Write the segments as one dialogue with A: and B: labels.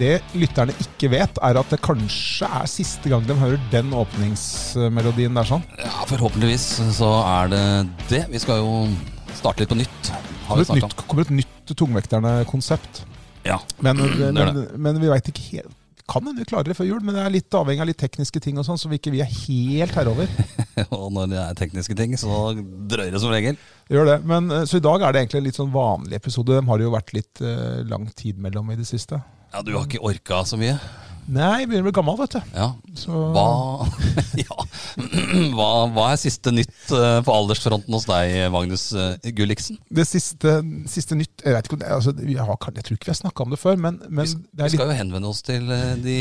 A: Det lytterne ikke vet, er at det kanskje er siste gang de hører den åpningsmelodien der sånn.
B: Ja, forhåpentligvis så er det det. Vi skal jo starte litt på nytt. Har
A: Det kommer
B: vi
A: et
B: snakket
A: nytt, kommer et nytt tungvekterne-konsept.
B: om. Ja.
A: Men,
B: er
A: men, men vi veit ikke helt Kan hende vi klarer det før jul, men det er litt avhengig av litt tekniske ting og sånn, så vi ikke vi er helt herover.
B: Og når det er tekniske ting, så drøyer det som regel.
A: Gjør det. Men, eh, så i dag er det egentlig en litt sånn vanlig episode. De har det jo vært litt eh, lang tid mellom i det siste.
B: Ja, du har ikke orka så mye.
A: Nei, jeg begynner å bli gammel, vet du.
B: Ja.
A: Så
B: Hva, ja. hva, hva er siste nytt eh, på aldersfronten hos deg, Magnus eh, Gulliksen?
A: det siste, siste nytt Jeg, vet ikke, om det- altså, vi har, jeg tror ikke vi har snakka om det før, men, men det er
B: Vi
A: litt
B: skal jo henvende oss til eh, de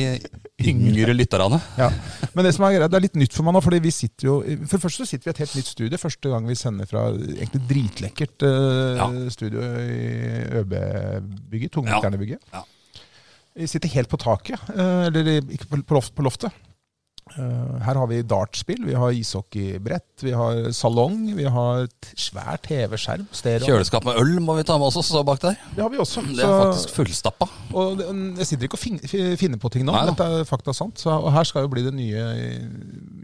B: yngre lytterne.
A: Ja. Men det som er greit, det er litt nytt for meg nå. fordi vi sitter jo, For det første så sitter vi i et helt nytt studio. Første gang vi sender fra egentlig dritlekkert eh,
B: Ja.
A: studio i ØB-bygget. Tungvekterne-bygget.
B: Ja.
A: Vi sitter helt på taket. eh, eller i- ikke på, på, loft, på loftet. Eh, her har vi dartspill, vi har ishockeybrett, vi har salong, vi har et svært TV-skjerm. Stereo.
B: Kjøleskap med øl må vi ta med oss også, så bak der.
A: Det har vi også.
B: Det er
A: Så,
B: faktisk fullstappa.
A: og det- og jeg sitter ikke og fin- fi- finner på ting nå.
B: Nei da.
A: Dette er fakta sant. Så, og her skal jo bli det nye eh,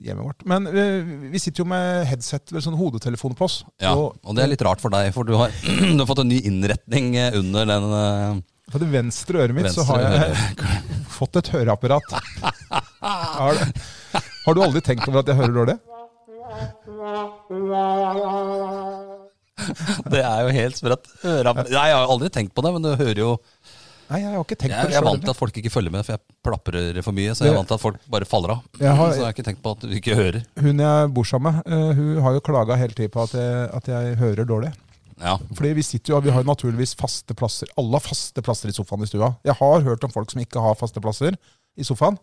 A: hjemmet vårt. Men eh, vi sitter jo med headset, eller sånn hodetelefon på oss.
B: Ja,
A: Og,
B: og det er litt rart for deg, for du har, du har fått en ny innretning eh, under den eh,
A: på det venstre øret mitt så
B: venstre
A: har jeg
B: høyre.
A: fått et høreapparat. har, du- har du aldri tenkt over at jeg hører dårlig?
B: Det er jo helt sprøtt. Hører han- Nei, Jeg har aldri tenkt på det, men du hører jo
A: Nei, jeg har ikke tenkt på
B: Jeg,
A: det
B: jeg er
A: selv
B: vant til
A: heller.
B: at folk ikke følger med, for jeg plaprer for mye. Så jeg er vant til at folk bare faller av. Så
A: Jeg har-
B: jeg har ikke tenkt på at du ikke hører.
A: Hun jeg bor sammen med, eh, hun har jo klaga hele tiden på at jeg, at jeg hører dårlig.
B: Ja,
A: Fordi vi sitter jo, vi har jo naturligvis faste plasser. Alle har faste plasser i sofaen i stua. Jeg har hørt om folk som ikke har faste plasser i sofaen,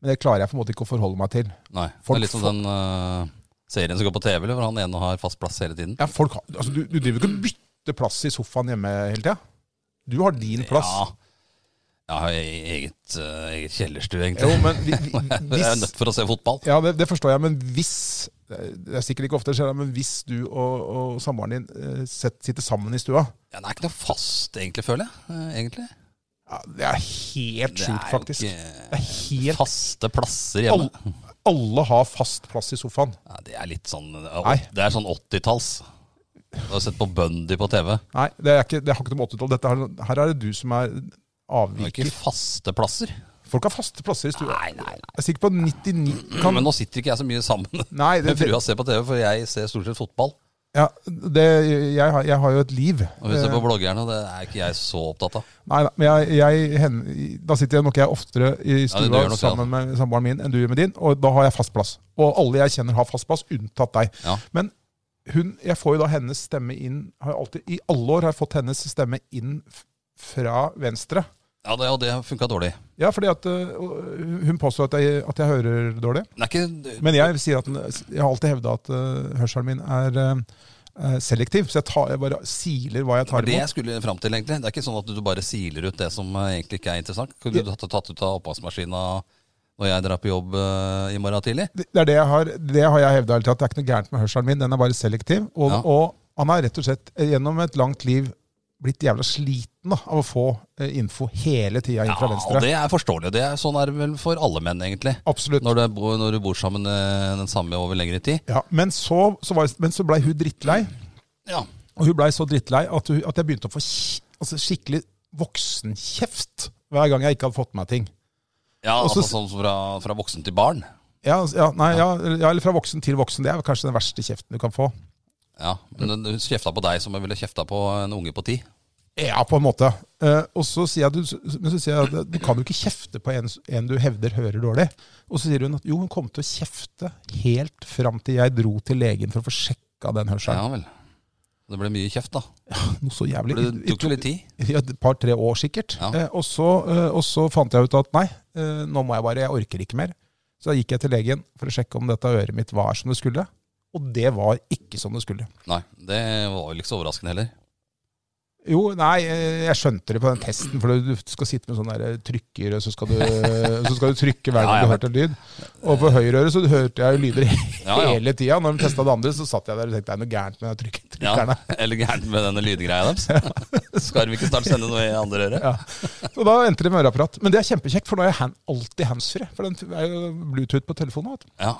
A: men det klarer jeg på en måte ikke å forholde meg til.
B: nei. Det
A: Folk
B: er litt som den eh, serien som går på TV, eller, hvor han ene har fast plass hele tiden.
A: Ja, folk har, altså, du, du driver jo ikke og bytter plass i sofaen hjemme hele tida. Du har din plass.
B: Ja. Jeg har e- eget, eh, eget kjellerstue,
A: Jo,
B: egentlig.
A: men vi, vi,
B: Jeg er
A: hvis
B: nødt for å se fotball.
A: Ja, det, det forstår jeg, men hvis Det er sikkert ikke ofte det skjer, men hvis du og, og samboeren din eh, sett- sitter sammen i stua
B: Ja, det er ikke noe fast, egentlig, føler jeg. eh, egentlig.
A: ja, Det er helt
B: Det
A: sjukt,
B: er jo
A: faktisk. Det
B: ikke
A: er helt
B: faste plasser hjemme.
A: alle, alle har fast plass i sofaen.
B: Ja, det er litt sånn
A: Nei.
B: Det er sånn 80-talls. Du har sett på Bundy på TV.
A: Nei, det, er ikke, det har ikke noe med 80-tall. Dette her- Her er det du som er
B: Det er ikke
A: avviker.
B: faste plasser.
A: Folk har faste plasser i stua.
B: Nei, nei, nei.
A: Jeg er sikker på at 99 kan
B: Men nå sitter ikke jeg så mye sammen
A: Nei, det,
B: med
A: det,
B: frua og ser på TV, for jeg ser stort sett fotball.
A: ja, det jeg, har, jeg har jo et liv.
B: Og hun ser
A: Eh,
B: på bloggerne, og det er ikke jeg så opptatt av.
A: Nei, nei, men jeg, jeg, hen, da sitter jeg nok jeg oftere i stua
B: gjør nok altså. det,
A: sammen med samboeren min enn du gjør med din, og da har jeg fast plass. Og alle jeg kjenner har fast plass, unntatt deg.
B: Ja.
A: Men hun, jeg får jo da hennes stemme inn har jeg alltid, I alle år har jeg fått hennes stemme inn f- fra venstre.
B: Ja, det, Og det funka dårlig.
A: Ja, fordi at øh, hun påstår at jeg, at jeg hører dårlig.
B: Det er ikke
A: Men jeg sier at den, jeg har alltid hevda at øh, hørselen min er øh, selektiv, så jeg, tar, jeg bare siler hva jeg
B: for
A: tar
B: det jeg
A: imot.
B: skulle fram til, egentlig. Det er ikke sånn at du bare siler ut det som eh, egentlig ikke er interessant. Kunne du tatt, tatt ut av oppvaskmaskina når jeg drar på jobb eh, i morgen tidlig?
A: Det, det er det jeg har, det har jeg hevda hele tida, at det er ikke noe gærent med hørselen min, den er bare selektiv. Og,
B: Ja.
A: og han har rett og slett eh, gjennom et langt liv blitt jævla sliten da, av å få eh, info hele tida inn fra
B: og
A: venstre.
B: det er forståelig. og Det er, sånn er det vel for alle menn, egentlig.
A: Absolutt.
B: Når du, bor, når du bor sammen eh, den samme over lengre tid.
A: Ja, men så, så, var jeg- men så blei hun drittlei.
B: Ja.
A: Og hun blei så drittlei at, hun, at jeg begynte å få kj- altså skikkelig voksenkjeft hver gang jeg ikke hadde fått med meg ting. Og så-
B: altså sånn fra, fra voksen til barn.
A: Ja, altså, ja, nei, ja, ja, eller fra voksen til voksen. Det er vel kanskje den verste kjeften du kan få.
B: Ja, men Hun kjefta på deg som hun ville kjefta på en unge på ti.
A: Ja, på en måte. Eh, og så sier jeg, du, men så sier jeg at du kan jo ikke kjefte på en, en du hevder hører dårlig. Og så sier hun at jo, hun kom til å kjefte helt fram til jeg dro til legen for å få sjekka den hørselen.
B: Ja vel. Det ble mye kjeft, da.
A: Noe så jævlig.
B: For det
A: I- i
B: tok jo litt tid.
A: Ja, et par-tre år sikkert.
B: Ja.
A: Eh, og, så, eh, og så fant jeg ut at nei, eh, nå må jeg bare, jeg orker ikke mer. Så da gikk jeg til legen for å sjekke om dette øret mitt var som det skulle. Og det var ikke som det skulle.
B: Nei, det var vel ikke så overraskende heller.
A: Jo, nei, eh, jeg skjønte det på den testen, for du skal sitte med sånne der trykker, og så skal du, så skal du trykke hver gang
B: Ja, ja,
A: du hørte en lyd. Og på høyreøret så hørte jeg jo lyder
B: Ja, ja.
A: hele tida. Når de testa det andre, så satt jeg der og tenkte det er noe gærent med den trykken-
B: Ja,
A: trykkerne.
B: Eller gærent med denne lydgreia deres. Skal vi ikke snart sende noe i andre øret?
A: Ja. Så da endte det med øreapparat. Men det er kjempekjekt, for nå er jeg hand, alltid handsfree. For den er jo Bluetooth på telefonen. Vet du.
B: Ja.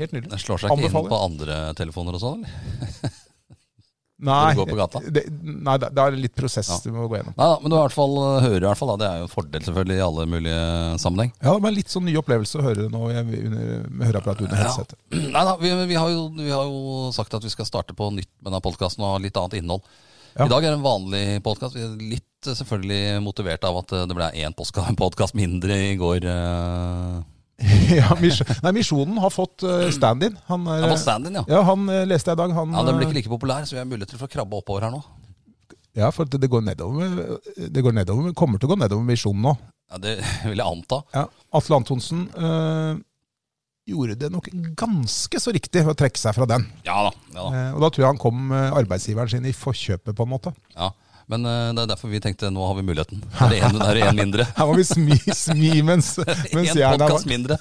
A: Helt nydelig.
B: Den slår seg ikke
A: Anbefaler.
B: inn på andre telefoner og sånn, eller?
A: Nei,
B: når du går på gata.
A: Det, nei, det det er litt prosess
B: Ja.
A: du må gå gjennom.
B: Nei da, men du i hvert fall, hører i hvert fall, da. Det er jo en fordel selvfølgelig i alle mulige sammenheng.
A: Ja, det var en litt sånn ny opplevelse å høre det nå jeg, under, med høreapparat under
B: Ja.
A: headsetet.
B: Nei da, vi, vi, har jo, vi har jo sagt at vi skal starte på nytt med denne podkasten og ha litt annet innhold.
A: Ja.
B: I dag er det en vanlig podkast. Litt eh, selvfølgelig motivert av at eh, det ble én podkast mindre i går. eh.
A: Ja, misjon, nei, Misjonen har fått eh, stand-in. Han, er,
B: Ja, på stand-in, ja.
A: ja, han eh, leste jeg i dag. Han,
B: Ja, Den blir
A: eh,
B: ikke like populær, så vi har muligheter for å krabbe oppover her nå.
A: ja, for det, det går nedover. med- Det går nedover, med- kommer til å gå nedover med Misjonen nå.
B: Ja, Det vil jeg anta.
A: Ja, Atle Antonsen eh, gjorde det nok ganske så riktig å trekke seg fra den.
B: Ja da. ja da.
A: Eh, og da tror jeg han kom eh, arbeidsgiveren sin i forkjøpet, på en måte.
B: Ja. Men eh, det er derfor vi tenkte nå har vi muligheten. Det er en, det er en mindre.
A: Her må vi smi, smi mens, mens
B: Én
A: jeg er
B: podkast mindre.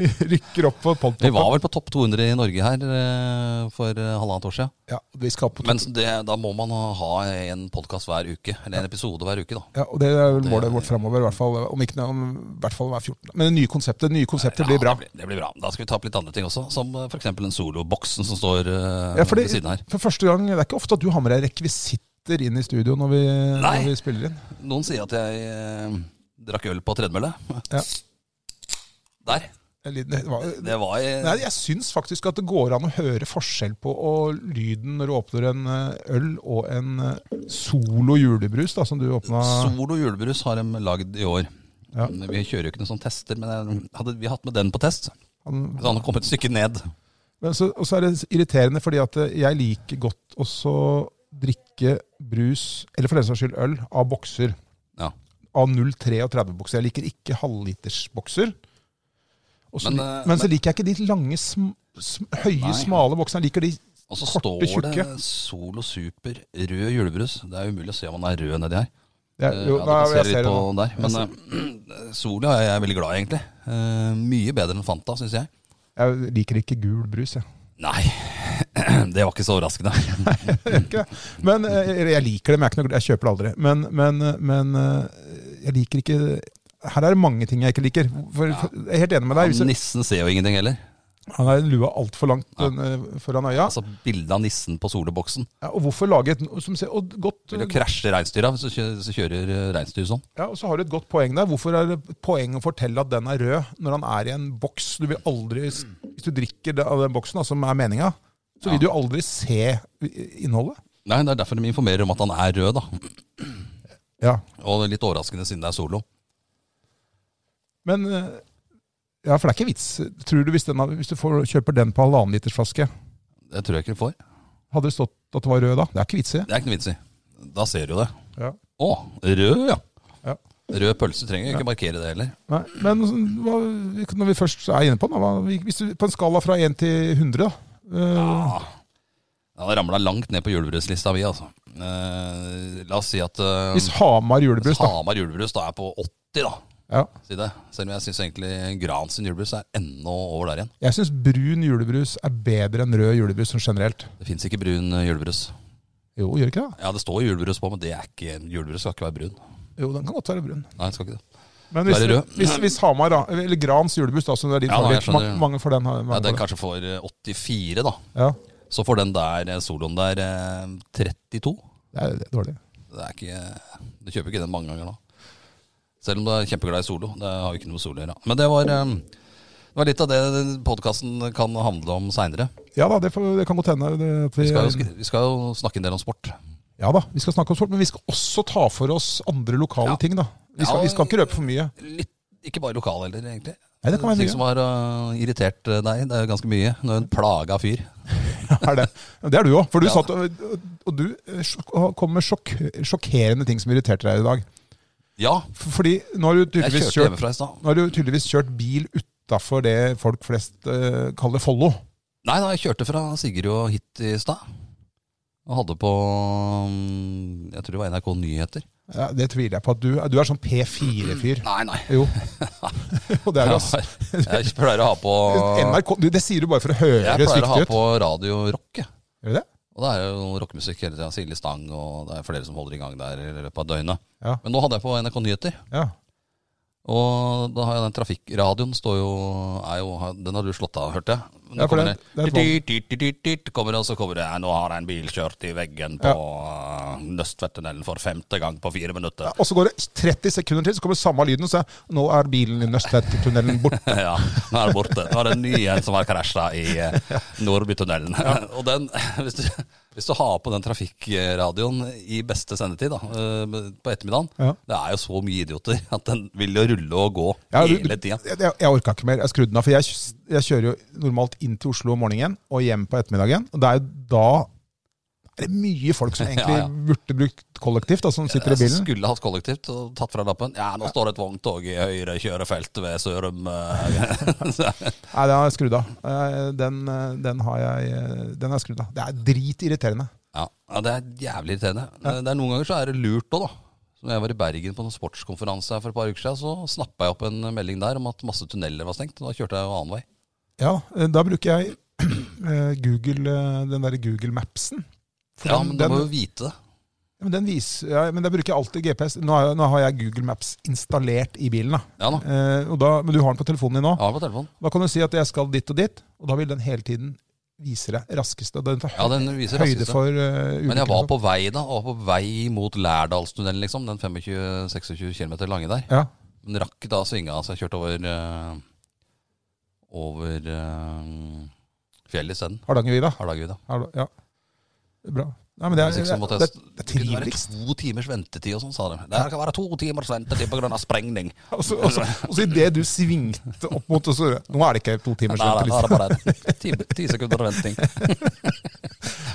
A: Vi rykker opp på
B: Vi
A: podpoppen.
B: var vel på topp 200 i Norge her eh, for eh, halvannet år siden.
A: Ja, vi skal opp på
B: Men det, da må man ha en podkast hver uke. Eller en episode hver uke, da.
A: Ja, og Det er vel målet vårt framover. I hvert fall, om ikke, om, i hvert fall hver 14. Men det nye konseptet, det nye konseptet blir bra.
B: Ja, det, blir, det blir bra. Da skal vi ta opp litt andre ting også. Som f.eks. den soloboksen som står eh,
A: Ja, for,
B: ved siden
A: det,
B: her.
A: for første gang, det er ikke ofte at du har med deg rekvisitter inn i studio når vi, når
B: Nei.
A: vi spiller inn.
B: Noen sier at jeg eh, drakk øl på tredemølle.
A: Ja.
B: Der.
A: Eller, Det var,
B: Det var eh,
A: nei, jeg syns faktisk at det går an å høre forskjell på og lyden når du åpner en eh, øl og en eh, Solo julebrus, da, som du åpna.
B: Solo julebrus har de lagd i år.
A: Ja.
B: Vi kjører jo ikke noen sånne tester, men jeg- hadde vi hatt med den på test, så
A: Han-
B: hadde han kommet et stykke ned.
A: Men så, og så er det irriterende, fordi at eh, jeg liker godt også drikke brus, eller for den saks skyld øl, av bokser.
B: Ja.
A: Av 0,33-bokser. Jeg liker ikke halvlitersbokser. Og så
B: Men,
A: li-
B: eh,
A: men så liker jeg ikke de lange, sm, sm, høye,
B: Nei.
A: smale boksene. Jeg liker de
B: Og så
A: Korte,
B: står det
A: tjukke.
B: Solo Super rød julebrus. Det er umulig å se om han er rød nedi her.
A: jeg,
B: Eh,
A: jo,
B: ja, du
A: nei,
B: kan se
A: jeg
B: litt
A: ser det
B: på
A: nå.
B: der. Men eh, Solo er jeg veldig glad i, egentlig. Eh, mye bedre enn Fanta, syns jeg.
A: Jeg liker ikke gul brus, jeg.
B: Nei, det var ikke så overraskende.
A: Ikke det. Men eh, jeg liker det, men jeg, er ikke noe, glad- jeg kjøper det aldri. Men, men, men eh, jeg liker ikke Her er det mange ting jeg ikke liker. For, for, jeg er helt enig med deg. Hvis jeg-
B: Nissen ser jo ingenting heller.
A: Han har lua altfor langt eh, foran øya.
B: Altså Bildet av nissen på soloboksen.
A: Ja, og hvorfor lage et som sier, og godt,
B: Vil jo krasje reinsdyra hvis du kjø- hvis du kjører eh, reinsdyr sånn.
A: ja, og så har du et godt poeng der. Hvorfor er det poeng å fortelle at den er rød når han er i en boks? Du vil aldri, Hvis du drikker det av den boksen, da, som er meninga, så vil du jo aldri se innholdet.
B: Nei, Det er derfor de informerer om at han er rød, da.
A: Ja,
B: Og det er litt overraskende siden det er solo.
A: Men eh, ja, for det er ikke vits. Tror du hvis, den, hvis du får, kjøper den på halvannen liters flaske,
B: Det tror jeg ikke du får.
A: hadde det stått at det var rød da? Det er ikke vits i.
B: Det er ikke noe vits i. Da ser du det.
A: Ja.
B: Å, rød, ja.
A: Ja.
B: Rød pølse trenger jo ikke markere det heller.
A: Nei, men sånn, hva, når vi først er inne på den, da, hva, hvis du, på en skala fra 1 til 100, da, eh,
B: Ja, det ramla langt ned på julebrødslista vi, altså. Eh, la oss si at eh,
A: Hvis Hamar julebrus, da.
B: Hamar julebrus da er på 80, da.
A: Ja.
B: Si det. Selv om jeg syns egentlig Gran sin julebrus er ennå over der igjen.
A: Jeg syns brun julebrus er bedre enn rød julebrus sånn generelt.
B: Det fins ikke brun eh, julebrus.
A: Jo, gjør ikke det?
B: Ja, det står julebrus på, men det er ikke en julebrus. Skal ikke være brun.
A: Jo, den kan godt være brun.
B: Nei, det skal ikke det.
A: Men
B: Da
A: hvis,
B: er det rød.
A: hvis, hvis Hamar, da, eller Grans julebrus, da, som er din
B: Ja, da, jeg
A: favoritt ma-
B: skjønner.
A: Mange får den. har-
B: Ja,
A: Mange
B: den
A: får den.
B: kanskje får eh, 84, da.
A: Ja,
B: Så får den der eh, soloen der eh, 32.
A: det er, det er dårlig.
B: Det er ikke, du kjøper ikke den mange ganger da. Selv om du er kjempeglad i solo. Det har jo ikke noe med solo å gjøre. Men det var, eh, det var litt av det podkasten kan handle om seinere.
A: Ja da, det, får, det kan godt hende. Det, at
B: Vi,
A: vi,
B: skal jo sk- vi skal jo snakke en del om sport.
A: ja da, vi skal snakke om sport, men vi skal også ta for oss andre lokale
B: Ja.
A: ting, da. Vi skal,
B: Ja,
A: vi skal ikke røpe for mye.
B: Litt, ikke bare lokal heller, egentlig.
A: Nei, det kan være
B: Ting
A: mye.
B: som har eh, irritert eh, deg. Det er jo ganske mye. Du er en plaga fyr.
A: er det. det er du òg. For du
B: Ja.
A: satt og, og du eh, sjok- kom med sjokk, sjokkerende ting som irriterte deg i dag.
B: Ja,
A: F- Fordi nå har du
B: jeg
A: tydeligvis
B: kjørte
A: kjørt,
B: hjemmefra i stad.
A: nå har du tydeligvis kjørt bil utafor det folk flest eh, kaller Follo.
B: Nei da, jeg kjørte fra Sigrid og hit i stad. Og hadde på mm, Jeg tror det var NRK Nyheter.
A: Ja, det tviler jeg på. at Du, du er sånn P4-fyr.
B: Nei, nei.
A: Jo. og det er du, altså.
B: Jeg pleier å ha på
A: NRK, du, det sier du bare for å
B: Jeg
A: høres
B: pleier å ha
A: viktig ut.
B: på radio rock. jeg.
A: Gjør du det?
B: Og det er jo rockemusikk hele tida. Silje Stang, og det er flere som holder i gang der i løpet av døgnet.
A: Ja.
B: Men nå hadde jeg på NRK Nyheter.
A: Ja.
B: Og da har jeg den trafikkradioen står jo, er jo har- Den har du slått av, hørte jeg. Men
A: Ja, for
B: kommer
A: det-
B: det,
A: det er
B: dit, dit, dit, dit, dit, kommer det, og så kommer det «Ja, Nå har en bil kjørt i veggen på ja. Nøstvedtunnelen for femte gang på fire minutter.
A: Og så går det 30 sekunder til, så kommer samme lyden. Og så er, nå er bilen i Nøstvedtunnelen borte.
B: Ja. nå er det borte. Nå er det en ny en som har krasja i eh, Nordbytunnelen. og den, hvis du, hvis du har på den trafikkradioen i beste sendetid da, eh, på ettermiddagen,
A: Ja.
B: det er jo så mye idioter at den vil jo rulle og gå
A: Ja, du-
B: hele tida.
A: Jeg, jeg orka ikke mer. Jeg skrudde den av. For jeg, kj- jeg kjører jo normalt inn til Oslo om morgenen og hjem på ettermiddagen. Og det er jo da er det mye folk som egentlig
B: Ja, ja.
A: burde brukt kollektivt, da, som sitter i
B: Jeg
A: bilen.
B: Skulle hatt kollektivt og tatt fra lappen. Ja, nå står det et vogntog i høyre kjørefelt ved Sørum. eh, så-
A: Nei, den har jeg skrudd av. Eh, Den, eh, den har jeg eh, den har jeg skrudd av. Det er dritirriterende.
B: ja, ja, det er jævlig irriterende. Det er Noen ganger så er det lurt òg, da. Som jeg var i Bergen på en sportskonferanse her for et par uker siden, så snappa jeg opp en melding der om at masse tunneler var stengt. og Da kjørte jeg jo annen vei.
A: Ja, eh, da bruker jeg eh, Google, eh, den derre Google Mapsen. For
B: Ja,
A: den-
B: men du
A: den-
B: må jo vite det.
A: Ja, Men, den viser, ja, men da bruker jeg alltid GPS. Nå har, jeg- nå har jeg Google Maps installert i bilen. Da.
B: Ja da.
A: Eh, og da, men du har den på telefonen din nå.
B: Jeg har det på telefonen.
A: Da kan du si at jeg skal dit og dit, og da vil den hele tiden vise deg raskeste. Den tar høy,
B: Ja, den viser
A: høyde
B: raskeste.
A: for uh, ulykker.
B: Men jeg var
A: og sånn.
B: på vei da, og var på vei mot Lærdalstunnelen, liksom. Den 25-26 km lange der.
A: ja.
B: Men rakk da svinga, så jeg kjørte over eh, Over eh, fjellet isteden.
A: Hardangervidda.
B: Hardangervidda.
A: Har- Ja. Bra. Nei, men det er,
B: Hvis
A: det,
B: ikke så måtte
A: er-
B: liksom jeg-
A: det, er
B: Det kunne være
A: triveligst.
B: to timers ventetid og sånn, sa de. Det kan være to timers ventetid pga. sprengning.
A: Og så altså, idet du svingte opp mot oss, så- nå er det ikke to timers
B: Nei, nei, da er
A: venteliste.
B: det bare ti, ti sekunder venting.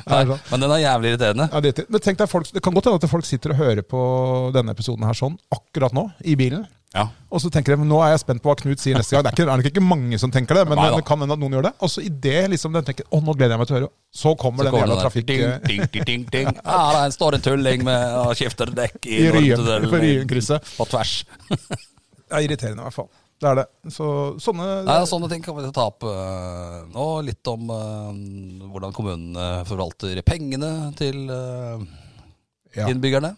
A: Nei,
B: Nei,
A: bra.
B: men den er jævlig irriterende.
A: Ja, det, men tenk deg folk, det kan godt hende at folk sitter og hører på denne episoden her sånn akkurat nå, i bilen.
B: Ja.
A: Og så tenker jeg, men nå er jeg spent på hva Knut sier neste gang. Det er, ikke, det er nok ikke mange som tenker det, men
B: Neida.
A: det kan hende at noen gjør det. Og så i det liksom den tenker, å nå gleder jeg meg til å høre, så kommer
B: Så
A: den
B: kommer
A: jævla
B: den der.
A: trafikk... eh,
B: Ding, ding, ding, ding, ding. Ja, der står en tulling med og skifter dekk i,
A: I Ryen,
B: Nordtunnelen
A: på Ryenkrysset.
B: På tvers.
A: Det er irriterende i hvert fall. Det er det. Så sånne...
B: Nei, altså- Sånne ting kan vi ta opp. eh, Og litt om eh, hvordan kommunen eh, forvalter pengene til eh,
A: ja.
B: innbyggerne.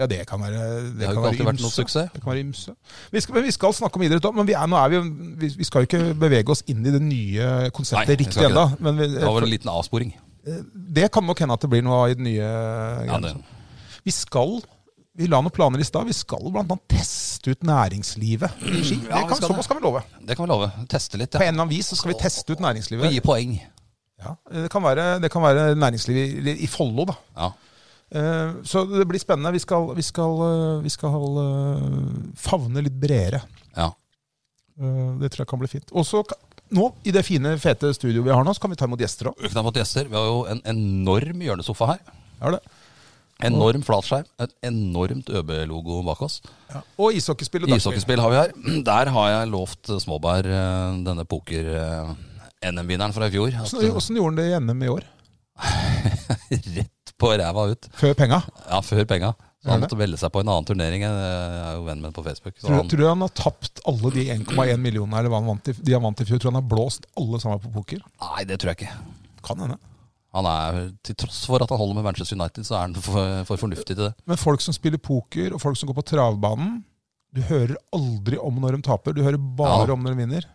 A: ja, det kan være...
B: Det har jo
A: kan
B: ikke
A: være
B: alltid vært noe
A: ymse.
B: suksess.
A: Det kan være ymse. Vi skal, men vi skal snakke om idrett òg, men vi, er, nå er vi, jo- vi, vi skal jo ikke bevege oss inn i det nye konseptet
B: Nei, vi
A: riktig
B: skal ikke
A: ennå. Men vi, eh,
B: Det var vel en liten avsporing.
A: det kan nok hende at det blir noe av i det nye.
B: Ja,
A: greiene.
B: det.
A: Vi skal vi la noen planer i stad. Vi skal bl.a. teste ut næringslivet i Ski.
B: Ja,
A: det
B: vi
A: kan,
B: skal
A: såpass kan vi love.
B: Det kan vi love. Teste litt,
A: På
B: ja.
A: en eller annen vis så skal vi teste ut
B: Og
A: næringslivet.
B: gi poeng.
A: Ja, det, kan være, det kan være næringslivet i, i Follo, da.
B: Ja.
A: Eh, Så det blir spennende. Vi skal, vi skal, eh, vi skal eh, favne litt bredere.
B: ja.
A: Eh, Det tror jeg kan bli fint. Og så kan- nå, i det fine, fete studioet vi har nå, så kan vi ta imot gjester òg.
B: Uten å ha fått gjester. Vi har jo en enorm hjørnesofa her. Enorm flatskjerm. Et enormt ØB-logo bak oss.
A: Og ishockeyspill og dagspill.
B: Ishockeyspill har vi her. Der har jeg lovt småbær eh, denne poker-NM-vinneren fra i fjor. At,
A: Åssen åssen gjorde han det i NM i år?
B: eh, rett på ræva ut.
A: Før penga?
B: Ja, før penga. Så
A: Er
B: han
A: det?
B: måtte velge seg på en annen turnering. Jeg er jo venn med ham på Facebook. Så
A: Tror,
B: han,
A: du- tror du han har tapt alle de 1,1 millionene eller hva han vant i, de han vant i fjor? Tror du han har blåst alle sammen på poker?
B: nei, det tror jeg ikke.
A: Kan hende.
B: Han er, Til tross for at han holder med Manchester United, så er han for, for fornuftig til det.
A: Men folk som spiller poker, og folk som går på travbanen Du hører aldri om når de taper, du hører bare
B: Ja.
A: om når de vinner.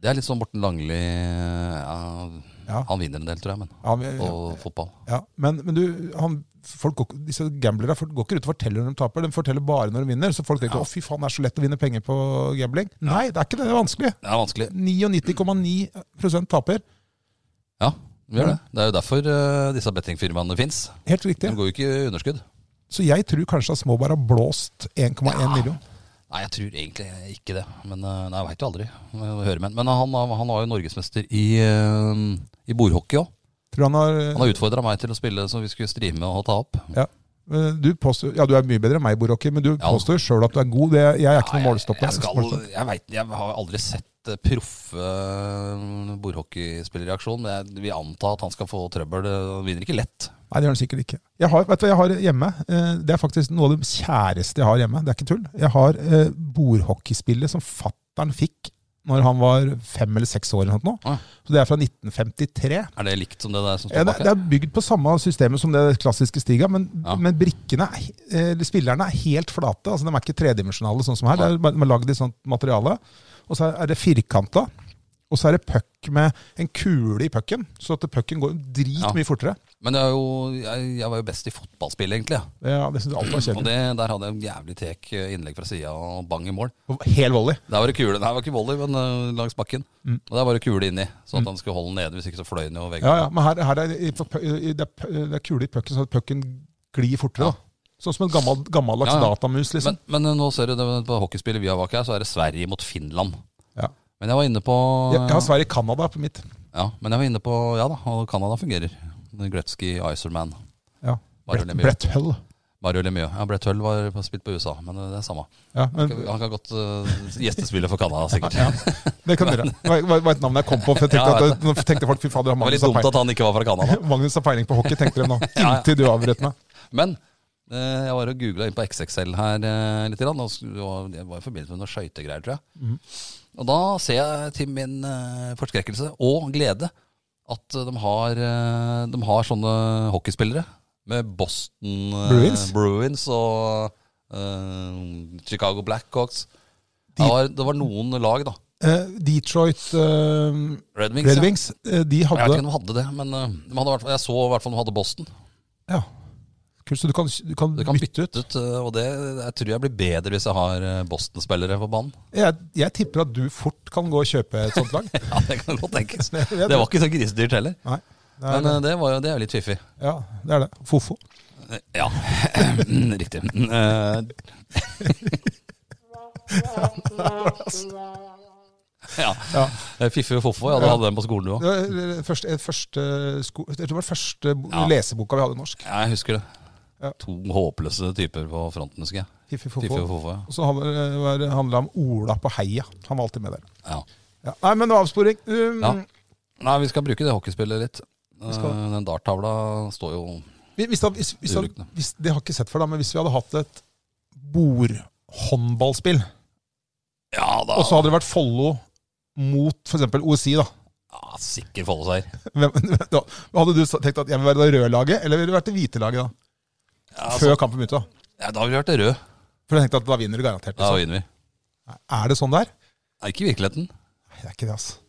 B: Det er litt sånn Morten Langli ja,
A: Ja.
B: Han vinner en del, tror jeg, men
A: Ja, men,
B: på fotball.
A: ja. men, men du, han, folk går, ikke- disse gamblere folk går ikke ut og forteller når de taper, de forteller bare når de vinner. Så folk tenker
B: Ja.
A: å fy faen, det er så lett å vinne penger på gambling. Nei, det er ikke det, det er vanskelig.
B: Det er vanskelig.
A: 99,9 taper.
B: Ja, vi gjør det. Det er jo derfor eh, disse bettingfirmaene fins.
A: Helt
B: De
A: riktig.
B: går jo ikke i underskudd.
A: Så jeg tror kanskje at Småberg har blåst 1,1 million.
B: Nei, jeg tror egentlig ikke det. Men eh, nei, jeg veit jo aldri. Jeg må høre med han. Men han, han var jo norgesmester i, eh, i eh, bordhockey òg.
A: Tror han har
B: Han har utfordra meg til å spille som vi skulle streame og ta opp.
A: ja. Men Du, påstår, ja, du er mye bedre enn meg, Borokki, men du påstår sjøl at du er god. Det, jeg er ikke noen målestopper.
B: Jeg, skal,
A: målestopper.
B: jeg, vet, jeg har aldri sett eh, proffe eh, bordhockeyspillere i aksjon. men Jeg vil anta at han skal få trøbbel. Han vinner ikke lett.
A: Nei, det gjør den sikkert ikke. Jeg har, vet du hva jeg har hjemme? Eh, Det er faktisk noe av det kjæreste jeg har hjemme. Det er ikke tull. Jeg har eh, bordhockeyspillet som fattern fikk når han var fem eller seks år. eller noe. sånt nå.
B: Ah.
A: Så Det er fra 1953.
B: Er det likt som det der som
A: Ja,
B: står
A: det,
B: bak?
A: det
B: her?
A: er bygd på samme systemet som det klassiske Stiga, men,
B: Ja.
A: men brikkene, er he- eller spillerne, er helt flate. altså De er ikke tredimensjonale, sånn som her. Det er, bare- de er lagd i sånt materiale. Og så er det firkanta. Og så er det puck med en kule i pucken, så at pucken går
B: Ja.
A: dritmye fortere.
B: Men det er jo, jeg, jeg var jo best i fotballspill, egentlig. ja.
A: Ja, det synes jeg alltid er
B: Og
A: kjedelig.
B: det, der hadde jeg en jævlig tek eh, innlegg fra sida og bang i mål.
A: Og Hel volley.
B: Der var det kule. Nei, det var ikke volley, men eh, langs bakken. Og der var det kule inni, sånn at han skulle holde den nede. Hvis ikke så fløy den jo
A: Mm.
B: veggen.
A: Ja, ja, men her, her er, i- på pu- i- det er, pu- det er kule i pucken, så at pucken glir fortere.
B: Ja.
A: da. Sånn som en gammel, gammeldags
B: Ja, ja.
A: datamus, liksom.
B: Men, men eh, nå ser du det på hockeyspillet vi har bak her, så er det Sverige mot Finland.
A: ja.
B: Men jeg var inne på
A: jeg, jeg har Sverige-Canada på mitt.
B: Ja, men jeg var inne på Ja da, og Canada fungerer. Gretzky, Iserman,
A: Ja.
B: Bare
A: Brett,
B: Lemieux.
A: Brett Hull.
B: Mario Lemieux. Ja, Brett Hull var på- spilt på USA, men eh, det er samme.
A: Ja,
B: Han
A: men
B: kan- han kan godt eh, gjestespille for Canada, sikkert. Det
A: det kan dere. Det var- var, var et navn jeg kom på. For jeg tenkte,
B: Ja,
A: at, nå tenkte folk fy fader,
B: var
A: Magnus
B: litt
A: har
B: dumt at
A: peiling-
B: han ikke var fra Canada.
A: Magnus har peiling på hockey, tenkte de nå. Inntil du avbrøt meg.
B: Men eh, jeg var og googla inn på XXL her eh, litt. Grann, og s- og det var i forbindelse med noen skøytegreier, tror jeg.
A: Mhm.
B: Og da ser jeg til min eh, forskrekkelse og glede at eh, de har, eh, de har sånne hockeyspillere med Boston eh,
A: Bruins?
B: Bruins og eh, Chicago Blackhawks.
A: De-
B: det, var, det var noen lag, da.
A: Eh, Detroit eh,
B: Red Wings.
A: Red
B: ja.
A: Wings, eh, de
B: Jeg vet ikke
A: hadde
B: om de hadde det, men eh, de hadde, i hvert fall- jeg så i hvert fall de hadde Boston.
A: ja. Kult, så du kan, du kan,
B: Du kan
A: bytte ut.
B: bytte ut, eh, og det jeg tror jeg blir bedre hvis jeg har eh, Boston-spillere på banen.
A: Jeg, jeg tipper at du fort kan gå og kjøpe et sånt lag.
B: Ja, det kan godt tenkes.
A: Det
B: Det var ikke så grisedyrt heller.
A: Nei. Det er,
B: Men eh, det, var jo, det er jo litt fiffig.
A: ja, det er det. Fofo.
B: Eh, Ja, riktig. Eh, ja.
A: Ja.
B: Eh, Fiffig og Foffo, ja, du hadde den på skolen du òg.
A: Det var det første, eh, første, sko, jeg tror det var den første bo-
B: Ja.
A: leseboka vi hadde i norsk.
B: Ja, jeg husker
A: Ja.
B: det. To håpløse typer på fronten, husker jeg.
A: Fiffi
B: Fiffig og
A: Fofo.
B: Foffo,
A: Og så handla det handlet om Ola på heia. Han var alltid med der.
B: ja. ja.
A: Ja. Nei, men avsporing. Um,
B: Ja. Nei, vi skal bruke det hockeyspillet litt. Eh,
A: skal.
B: Den darttavla står jo
A: vi- Hvis, da- hvis, hvis, da-
B: Ulykkene.
A: hvis, det har jeg ikke sett for deg, men hvis vi hadde hatt et bordhåndballspill,
B: Ja da,
A: og så hadde det vært Follo mot f.eks. OSI, da.
B: ja, sikker Follo-seier.
A: Hvem, da hadde du sa- tenkt at jeg vil være det røde laget, eller vil du være det hvite laget da?
B: Ja, altså,
A: Før kampen begynte, da.
B: ja, da ville vi vært rød.
A: For jeg tenkte at da vinner du garantert.
B: Da
A: Liksom.
B: vinner vi.
A: Er det sånn det er?
B: Nei, ikke i virkeligheten.
A: Nei, det er ikke det, altså.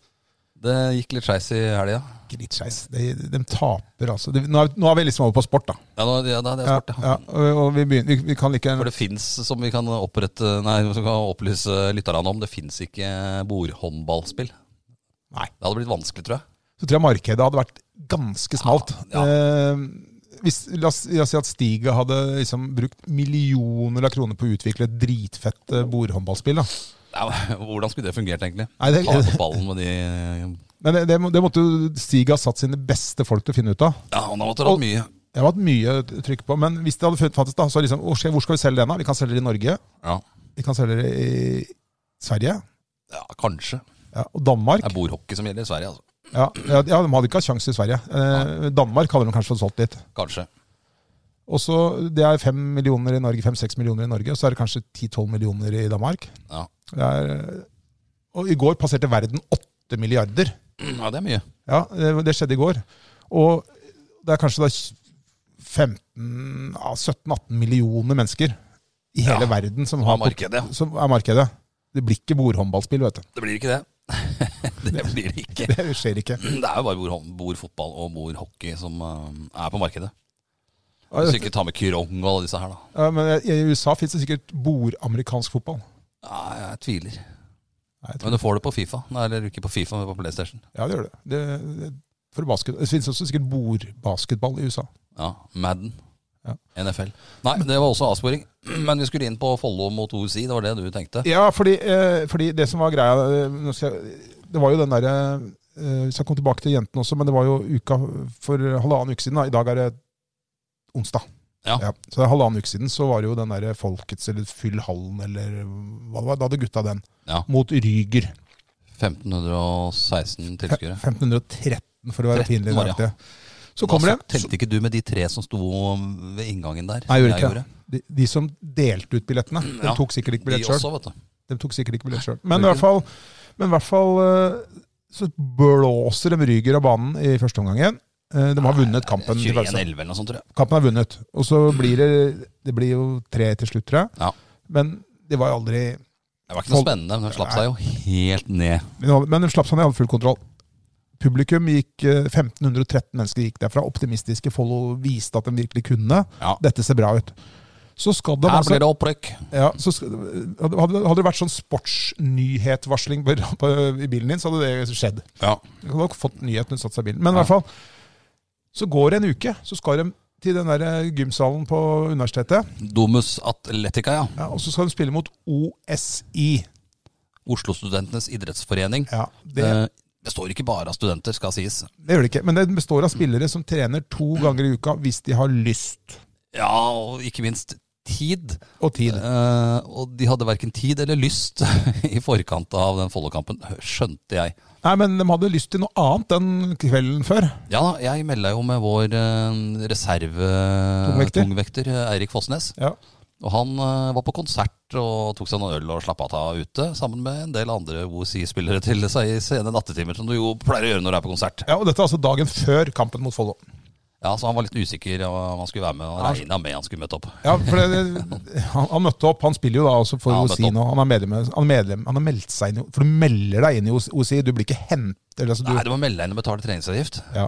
B: Det gikk litt skeis i helga.
A: Ikke litt skeis. De, de taper, altså. De, nå, er, nå er vi liksom over på sport, da.
B: Ja, nå- ja, da hadde jeg spurt, ja.
A: ja, og, og vi, begynner, vi, vi kan like
B: For det fins, som vi kan opprette Nei, som vi kan opplyse lytterne om, det fins ikke bordhåndballspill. Det
A: Nei.
B: hadde blitt vanskelig, tror jeg.
A: Så tror jeg markedet hadde vært ganske smalt.
B: Ja,
A: Eh, hvis, la, oss, la oss si at Stiga hadde liksom brukt millioner av kroner på å utvikle et dritfett eh, bordhåndballspill. da.
B: Ja, hvordan skulle det fungert, egentlig?
A: Nei, det-
B: Ta på ballen med de
A: Men det, det, må- det måtte jo Stiga ha satt sine beste folk til å finne ut av.
B: Ja, han har måttet hatt mye.
A: Det har vært mye trykk på, men hvis det hadde funnet- fantes da, så liksom, «Å, skje, hvor skal vi selge den da? Vi kan selge det i Norge,
B: Ja,
A: vi kan selge det i Sverige
B: ja kanskje.
A: ja, og Danmark.
B: Det er bordhockey som gjelder i Sverige, altså.
A: Ja, ja, ja, de hadde ikke hatt sjanse i Sverige. Eh, Danmark hadde de kanskje fått solgt litt.
B: Kanskje.
A: Og så, Det er fem millioner i Norge, fem-seks millioner i Norge, og så er det kanskje 10-12 millioner i Danmark.
B: Ja.
A: Det er, eh, og I går passerte verden 8 milliarder.
B: ja, det er mye.
A: Ja, det, det skjedde i går. Og det er kanskje da 15 ja, 17-18 millioner mennesker i hele
B: Ja,
A: verden som,
B: Ja,
A: har,
B: markedet.
A: som er markedet. Det blir ikke bordhåndballspill, vet du.
B: Det blir ikke det. det blir det ikke.
A: Det skjer ikke.
B: Det er jo bare bord, bordfotball og bordhockey som eh, er på markedet.
A: Ja,
B: Hvis
A: jeg-
B: du ikke tar med Kyrong og alle disse her, da.
A: Ja, men I USA fins det sikkert bordamerikansk fotball.
B: Ja, jeg tviler.
A: Nei, jeg tror-
B: Men du får det på Fifa. Nei, eller ikke på Fifa, men på PlayStation.
A: Ja, det gjør det. Det, det, for basket, det finnes også sikkert bordbasketball i USA.
B: Ja, Madden.
A: Ja.
B: NFL. Nei, det var også avsporing. Men vi skulle inn på Follo mot OSI, det var det du tenkte?
A: Ja, fordi, eh, fordi det som var greia eh, nå skal jeg, Det var jo den derre eh, Hvis jeg kom tilbake til jentene også, men det var jo uka for halvannen uke siden. Da. I dag er det onsdag.
B: Ja.
A: så det er halvannen uke siden så var det jo den der Folkets eller Fyll hallen eller hva det var. Da hadde gutta den.
B: Ja.
A: Mot Ryger.
B: 1516 tilskuere.
A: 1513, for å være
B: 13
A: pinlig
B: var det,
A: nøyaktig. Så kommer
B: Da
A: det.
B: Telte ikke du med de tre som sto ved inngangen der?
A: Nei, jeg gjorde ikke det. De, de som delte ut billettene, de
B: Ja,
A: tok sikkert ikke
B: De
A: billett sjøl.
B: også, vet du.
A: De tok sikkert ikke billett sjøl. Men i hvert fall, men i hvert fall eh, så blåser de Ryger av banen i første omgangen. Eh, De har vunnet kampen. til Larsen.
B: 21-11 eller noe sånt, tror jeg.
A: Kampen er vunnet. Og så blir det Det blir jo tre til slutt, tror jeg.
B: Ja.
A: Men det var aldri
B: Det var ikke noe spennende, men de slapp seg jo helt ned.
A: Men de slapp seg ned, hadde full kontroll. Publikum gikk eh, 1513 mennesker gikk derfra. Optimistiske Follo viste at de virkelig kunne.
B: Ja.
A: Dette ser bra ut. Så skal de
B: Her
A: altså
B: blir det opprykk.
A: ja, så skal, hadde, hadde det vært sånn sportsnyhetvarsling på, på, i bilen din, så hadde det skjedd.
B: Ja.
A: Du hadde nok fått nyheten hun satt seg i bilen. Men i
B: Ja.
A: hvert fall, så går det en uke, så skal de til den der eh, gymsalen på universitetet,
B: Domus Atletica, ja.
A: ja, og så skal de spille mot OSI.
B: Oslo-studentenes idrettsforening.
A: Ja, det,
B: Eh, Det står ikke bare av studenter, skal sies.
A: det gjør det ikke. Men den består av spillere som trener to ganger i uka hvis de har lyst
B: Ja, og ikke minst tid.
A: og tid.
B: Eh, og de hadde verken tid eller lyst i forkant av den Follo-kampen, skjønte jeg.
A: Nei, men de hadde lyst til noe annet den kvelden før.
B: Ja, da, jeg melda jo med vår eh, reserve
A: Tungvekter.
B: tungvekter, eh, Eirik Fossnes.
A: Ja.
B: Og han eh, var på konsert og tok seg noen øl og slappa av ute, sammen med en del andre OSI-spillere til seg i sene nattetimer, som du jo pleier å gjøre når du er på konsert.
A: ja, og dette er altså dagen før kampen mot Follo.
B: Ja, Så han var litt usikker av om han skulle være med, og regna med han skulle møte opp.
A: Ja, for det, det- han, han møtte opp. Han spiller jo da også for
B: Ja, han møtte
A: OSI nå. Han er medlem, han er medlem, han har meldt seg inn. i- For du melder deg inn i OSI, du blir ikke hentet. Eller, altså, du,
B: Nei, du må melde deg inn og betale treningsavgift.
A: ja.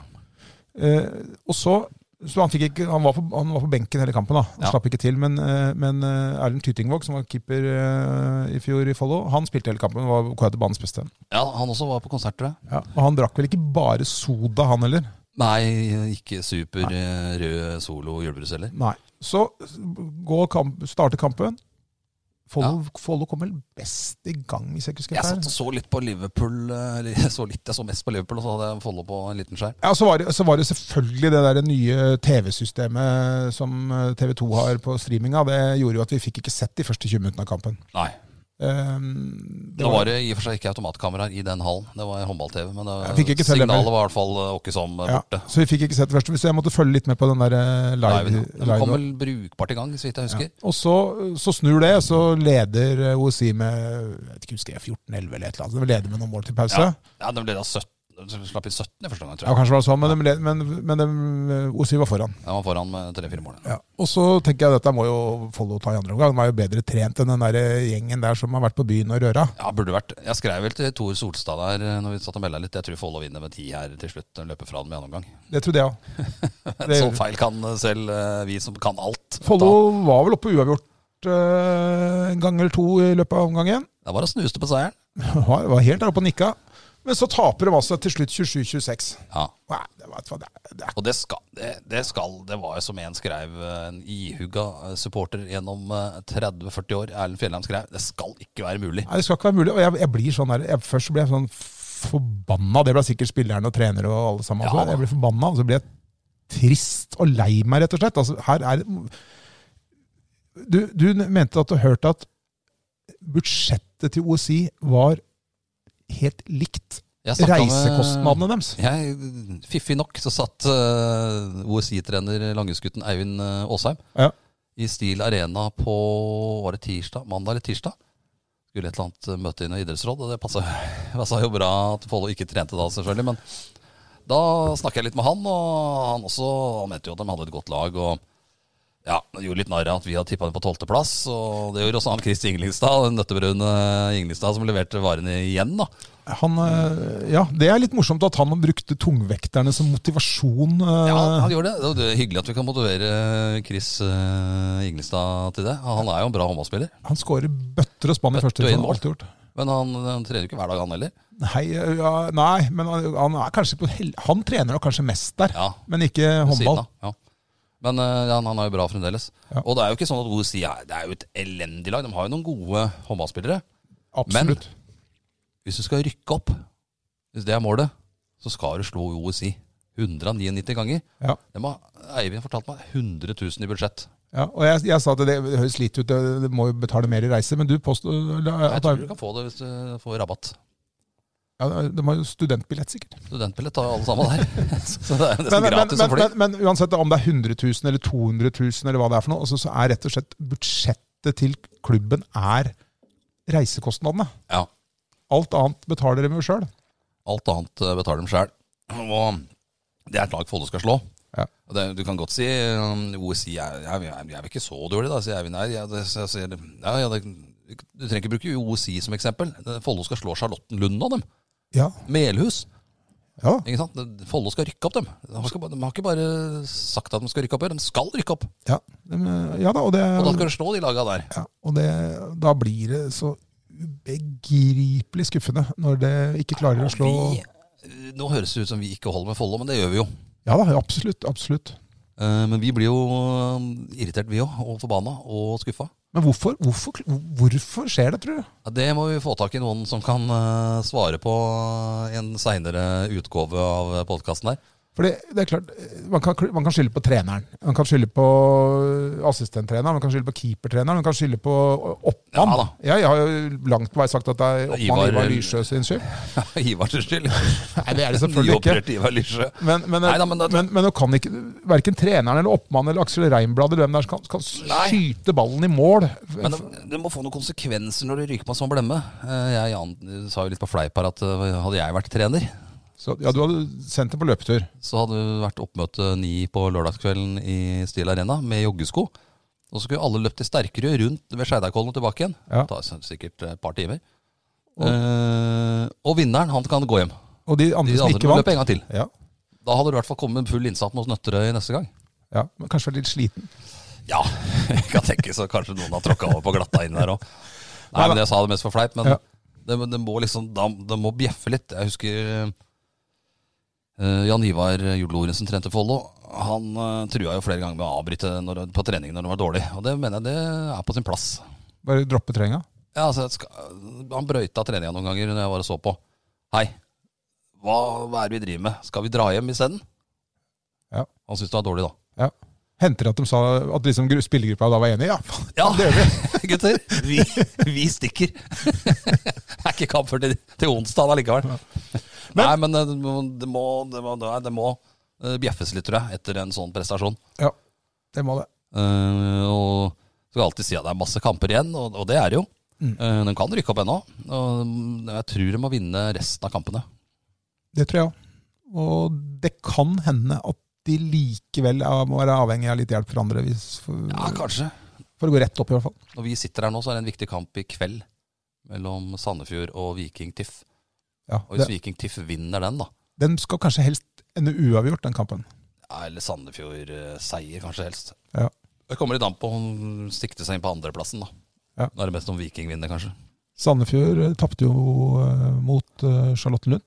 A: eh, og så, så han, fikk ikke, han, var på, han var på benken hele kampen, da. Han
B: Ja.
A: slapp ikke til. Men, eh, men eh, Erlend Tytingvåg, som var keeper eh, i fjor i Follo, han spilte hele kampen. Var kåret til banens beste.
B: Ja, han også var på konsert, tror jeg.
A: Ja. Og han drakk vel ikke bare soda, han heller?
B: Nei, ikke super eh, rød solo julebrus heller.
A: Nei. Så går kamp, starter kampen. Follo Follo kom vel best i gang, hvis jeg ikke husker
B: Jeg
A: feil.
B: satt og så litt på Liverpool, eh, eller jeg så litt, jeg så mest på Liverpool, og så hadde jeg Follo på en liten skjerm.
A: Ja, så var, det, så var det selvfølgelig det der nye TV-systemet som eh, TV 2 har på streaminga. Det gjorde jo at vi fikk ikke sett de første 20 minuttene av kampen.
B: Nei.
A: Ehm, det
B: Nå
A: var,
B: var det i og for seg ikke automatkameraer i den hallen, det var håndball-TV, men
A: Jeg
B: det,
A: fikk ikke selv det, men-
B: signalet var i hvert fall eh, åkke som eh,
A: ja,
B: borte.
A: så vi fikk ikke sett det første, så jeg måtte følge litt med på den der eh,
B: Live,
A: live.
B: ja. Den
A: live.
B: kom vel brukbart i gang, så vidt jeg husker.
A: Og så, så snur det, og så leder eh, OSI med jeg vet ikke, husker jeg 14-11 eller et eller annet. De leder med noen mål til pause.
B: Ja,
A: Ja.
B: ja de ble da 17, de slapp inn 17 i første gang, tror jeg.
A: kanskje det var sånn, men, de led, men, men de, eh, OSI var foran.
B: Jeg var foran med 3-4 mål.
A: Ja. Og så tenker jeg at dette må jo Follo ta i andre omgang. De er jo bedre trent enn den der eh, gjengen der som har vært på byen og røra.
B: Ja, burde vært. Jeg skrev vel til Tor Solstad der eh, når vi satt og melda litt. Jeg tror Follo vinner med 10 her til slutt. Den løper fra dem i andre omgang.
A: Det trodde jeg òg.
B: Så feil kan eh, selv eh, vi som kan alt.
A: Follo var vel oppe uavgjort eh, en gang eller to i løpet av omgangen.
B: Det var å snuse på seieren.
A: Var, var helt der oppe og nikka. Men så taper de altså til slutt 27-26.
B: Ja.
A: Nei, det, var- det, er- det er
B: Og det skal, det, det skal Det var jo som en skrev, eh, en ihugga eh, supporter gjennom eh, 30-40 år, Erlend Fjellheim skrev, det skal ikke være mulig.
A: Nei, det skal ikke være mulig. Og jeg, jeg blir sånn der, jeg, først ble jeg sånn forbanna. Det ble sikkert spillerne og trenere og alle sammen.
B: Ja,
A: også.
B: da.
A: jeg ble forbanna, og så ble jeg trist og lei meg, rett og slett. Altså, her er du, du mente at du hørte at budsjettet til OSI var helt likt
B: Jeg snakket eh, med-
A: reisekostnadene deres.
B: Jeg, fiffig nok så satt eh, OSI-trener Langhusgutten Eivind eh, Aasheim
A: Ja.
B: i Stil Arena på var det tirsdag, mandag eller tirsdag. Skulle et eller annet eh, møte inn i idrettsråd, og det passa passa jo bra at Follo ikke trente da, selvfølgelig. Men da snakka jeg litt med han, og han også han mente jo at de hadde et godt lag. og ja, gjorde litt narr av at vi hadde tippa dem på tolvteplass. Og det gjorde også han Chris Ingelingstad, den nøttebrune Ingelingstad, som leverte varene igjen, da.
A: Han, eh, ja, det er litt morsomt at han brukte tungvekterne som motivasjon. eh,
B: Ja, han gjorde det. Det er hyggelig at vi kan motivere Chris eh, Ingelstad til det. Han er jo en bra håndballspiller,
A: Han skårer bøtter og spann i første
B: og inn
A: divisjon.
B: mål.
A: Alt gjort.
B: men han, han trener jo ikke hver dag, han heller.
A: Nei, ja, nei men han, han er kanskje på hell... Han trener nok kanskje mest der,
B: Ja,
A: men ikke
B: ved
A: håndball.
B: siden av. Ja. Men eh, ja, han er jo bra fremdeles.
A: Ja.
B: Og det er jo ikke sånn at OSI er, det er jo et elendig lag. De har jo noen gode håndballspillere.
A: Absolutt.
B: Hvis du skal rykke opp, hvis det er målet, så skal du slå E OSI 199 ganger.
A: Ja.
B: Det må, Eivind fortalte meg 100 000 i budsjett.
A: Ja, og jeg, jeg sa at det, det høres lite ut, det, det må jo betale mer i reise, men du påstår
B: Jeg
A: at
B: tror du kan få det hvis du får rabatt.
A: ja, De har jo studentbillett, sikkert.
B: Studentbillett har jo alle sammen der. Så det er jo
A: Men,
B: nesten
A: men,
B: gratis
A: men,
B: å fly.
A: men, men uansett om det er 100 000 eller 200 000 eller hva det er for noe, altså, så er rett og slett budsjettet til klubben er reisekostnadene.
B: Ja.
A: Alt annet betaler de jo sjøl.
B: Alt annet eh, betaler de sjøl. Og det er et lag Follo skal slå.
A: Ja.
B: Og Det, du kan godt si um, OSI er, er, er, er vel ikke så dårlig, da, sier Eivind. Nei, ja, det, jeg sier, ja, ja, det, du trenger ikke bruke OSI som eksempel. Det- Follo skal slå Charlottenlund av dem.
A: Ja.
B: Melhus.
A: ja.
B: ikke sant? Det- Follo skal rykke opp dem. De, skal, bare- de har ikke bare sagt at de skal rykke opp, de skal rykke opp.
A: Ja. Dem, ja da, og det,
B: Og da skal du slå de laga der.
A: ja, og det Da blir det så ubegripelig skuffende når det ikke klarer å slå
B: Og Vi, eh, nå høres det ut som vi ikke holder med Follo, men det gjør vi jo.
A: Ja da, absolutt. Absolutt.
B: Eh, Men vi blir jo eh, irritert, vi òg. Og forbanna og skuffa.
A: Men hvorfor, hvorfor, hvorfor skjer det, tror du?
B: Ja, Det må vi få tak i noen som kan eh, svare på i en seinere utgave av podkasten her.
A: Fordi det er klart, man kan, man kan skylde på treneren, man kan skylde på assistenttreneren, man kan skylde på keepertreneren, man kan skylde på
B: Ja
A: oppmann.
B: da.
A: Ja, jeg har jo langt på vei sagt at det er oppmann
B: Ivar-
A: Ivar, Lysjø sin skyld.
B: Ivars skyld.
A: Nei, det er det selvfølgelig ikke.
B: Nyoperert Ivar Lysjø.
A: Men, men,
B: Nei da, men det-
A: men, men du kan ikke, verken treneren eller oppmann eller Aksel Reinblad eller hvem der kan, kan
B: Nei.
A: skyte ballen i mål.
B: Men det, det må få noen konsekvenser når du ryker på en sånn blemme. Eh, Jeg an- sa jo litt på fleip her at eh, hadde jeg vært trener,
A: Så, ja, du hadde sendt det på løpetur.
B: så hadde det vært oppmøte ni på lørdagskvelden i Steel Arena med joggesko. Og så skulle alle løpt i Sterkerød rundt ved Skeidarkollen og tilbake igjen.
A: Ja.
B: Det tar sikkert et par timer. Eh, og vinneren, han kan gå hjem.
A: Og de andre
B: De
A: som
B: andre
A: ikke
B: må
A: vant.
B: løpe en gang til.
A: Ja,
B: Da hadde du i hvert fall kommet med full innsats mot Nøtterøy neste gang.
A: ja, men kanskje var litt sliten.
B: Ja, jeg kan tenke så kanskje noen har tråkka over på glatta inn der òg. Nei, men jeg sa det mest for fleip, men
A: Ja.
B: det, det må liksom da- Det må bjeffe litt. Jeg husker eh, Jan Ivar Julorensen trente Follo. Han eh, trua jo flere ganger med å avbryte når, på trening når det var dårlig, og det mener jeg det er på sin plass.
A: Bare droppe treninga.
B: Ja, altså, jeg skal, han brøyta treninga noen ganger når jeg var og så på. Hei, hva, hva er det vi driver med? Skal vi dra hjem isteden?
A: Ja.
B: Han syntes det var dårlig, da.
A: Ja. Henter at de sa at liksom gru- spillergruppa da var enig? Ja,
B: Ja,
A: det gjør vi.
B: gutter. Vi, vi stikker. Det er ikke kamp før til, til onsdag allikevel. Nei, men eh, det må, det må, det må, det må eh, bjeffes litt, tror jeg, etter en sånn prestasjon.
A: Ja, det må det.
B: Eh, og du skal alltid si at det er masse kamper igjen, og, og det er det jo.
A: Mm.
B: Eh, de kan rykke opp ennå. Og mm, jeg tror de må vinne resten av kampene.
A: Det tror jeg òg. Og det kan hende at de likevel er- må være avhengig av litt hjelp fra andre hvis, for,
B: Ja, kanskje.
A: for å gå rett opp, i hvert fall.
B: Når vi sitter her nå, så er det en viktig kamp i kveld mellom Sandefjord og Viking Tiff.
A: Ja,
B: Og hvis
A: det,
B: Viking Tiff vinner den, da,
A: den skal kanskje helst ende uavgjort, den kampen.
B: Ja, Eller Sandefjord-seier, kanskje helst.
A: Ja.
B: Det kommer litt an på om sikte seg inn på andreplassen, da.
A: Ja.
B: Da er det best om Viking vinner, kanskje.
A: Sandefjord eh, tapte jo eh, mot eh, Charlottenlund.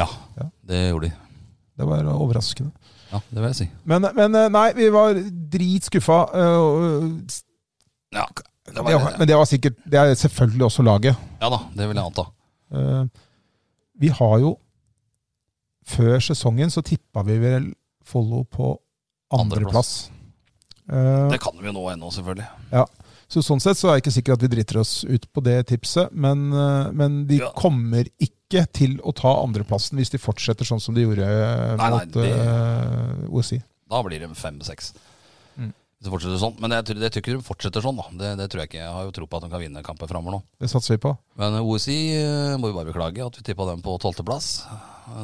B: Ja,
A: Ja.
B: det gjorde de.
A: Det var overraskende.
B: Ja, Det vil jeg si.
A: Men, men eh, nei, vi var dritskuffa. eh, og-
B: Ja, det var,
A: det- Men det var sikkert Det er selvfølgelig også laget.
B: ja da, det vil jeg anta.
A: Eh, Vi har jo Før sesongen så tippa vi vel Follo på andreplass.
B: Det
A: Eh,
B: kan vi jo nå ennå, selvfølgelig.
A: Så sånn sett så er jeg ikke sikker at vi driter oss ut på det tipset, men, eh, men de
B: Ja.
A: kommer ikke til å ta andreplassen hvis de fortsetter sånn som de gjorde eh,
B: Nei, nei,
A: mot eh, OSI.
B: Da blir det fem-seks.
A: Mm.
B: Hvis det fortsetter sånn. Men jeg tror, jeg tror ikke de fortsetter sånn, da. Det, det tror jeg ikke. Jeg har jo tro på at de kan vinne kamper framover nå.
A: Det satser vi på.
B: Men OSI eh, må vi bare beklage at vi tippa dem på tolvteplass.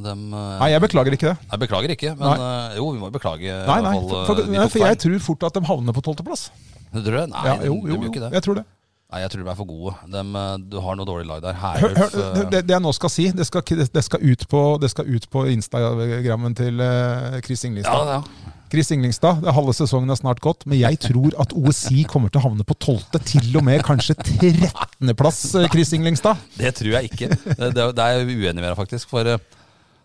B: Dem, eh,
A: Nei, jeg beklager ikke det.
B: jeg beklager ikke, men eh, jo, vi må jo beklage. i
A: Nei,
B: hvert
A: nei,
B: fall,
A: for,
B: eh,
A: for,
B: vi
A: nei,
B: tok
A: for
B: feil.
A: jeg tror fort at de havner på tolvteplass.
B: Du tror det? Nei,
A: Ja, jo,
B: de- de
A: jo,
B: gjør
A: jo,
B: ikke det.
A: jeg tror det.
B: Nei, jeg tror de er for gode. Dem, eh, du har noe dårlig lag der.
A: Hør,
B: Herulf
A: hør,
B: eh,
A: det, det jeg nå skal si, det skal, ikke- det skal, ut, på, det skal ut på Instagrammen til eh, Chris
B: ja,
A: Inglingstad.
B: ja.
A: Chris Inglingstad, det er Halve sesongen er snart gått, men jeg tror at OSI kommer til å havne på 12., til og med kanskje 13.-plass, eh, Chris Inglingstad.
B: Det tror jeg ikke. Det, det er- det er jeg uenig med deg, faktisk. For eh,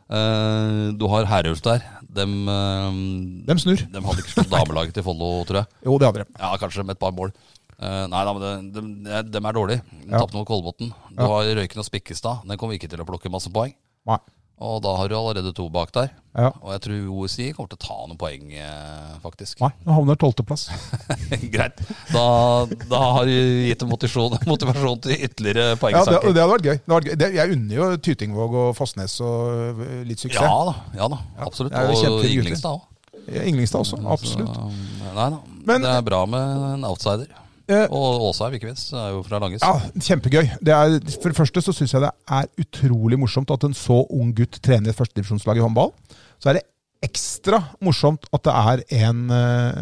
B: eh, du har Herulf der. Dem, eh,
A: Dem snur.
B: dem hadde ikke slått damelaget til Follo, tror jeg.
A: Jo, det hadde de.
B: Ja, kanskje med et par mål. Eh, nei da, men det, dem, det- dem er dårlige. De
A: Ja.
B: Tapte mot Kolbotn. Du har Røyken og Spikkestad. Den kommer ikke til å plukke masse poeng.
A: Nei.
B: Og da har du allerede to bak der.
A: Ja.
B: Og jeg tror OSI kommer til å ta noen poeng, eh, faktisk.
A: Nei, nå havner tolvteplass.
B: Greit. Da, da har du gitt dem motivasjon, motivasjon til ytterligere
A: Ja, det,
B: poengsaker.
A: det hadde vært gøy. Det hadde vært gøy. Det, jeg unner jo Tytingvåg og Fossnes og øh, litt
B: Ja,
A: suksess.
B: da. ja da, absolutt.
A: det er jo
B: Og
A: kjempefine gutter.
B: Inglingstad òg.
A: Inglingstad også, absolutt.
B: Um, Nei da.
A: Men-
B: det er bra med en outsider.
A: Eh,
B: Og Åsheim, ikke minst. Er jo fra Langes.
A: Ja, kjempegøy. Det er, for det første så syns jeg det er utrolig morsomt at en så ung gutt trener et førstedivisjonslag i håndball. Så er det ekstra morsomt at det er en eh,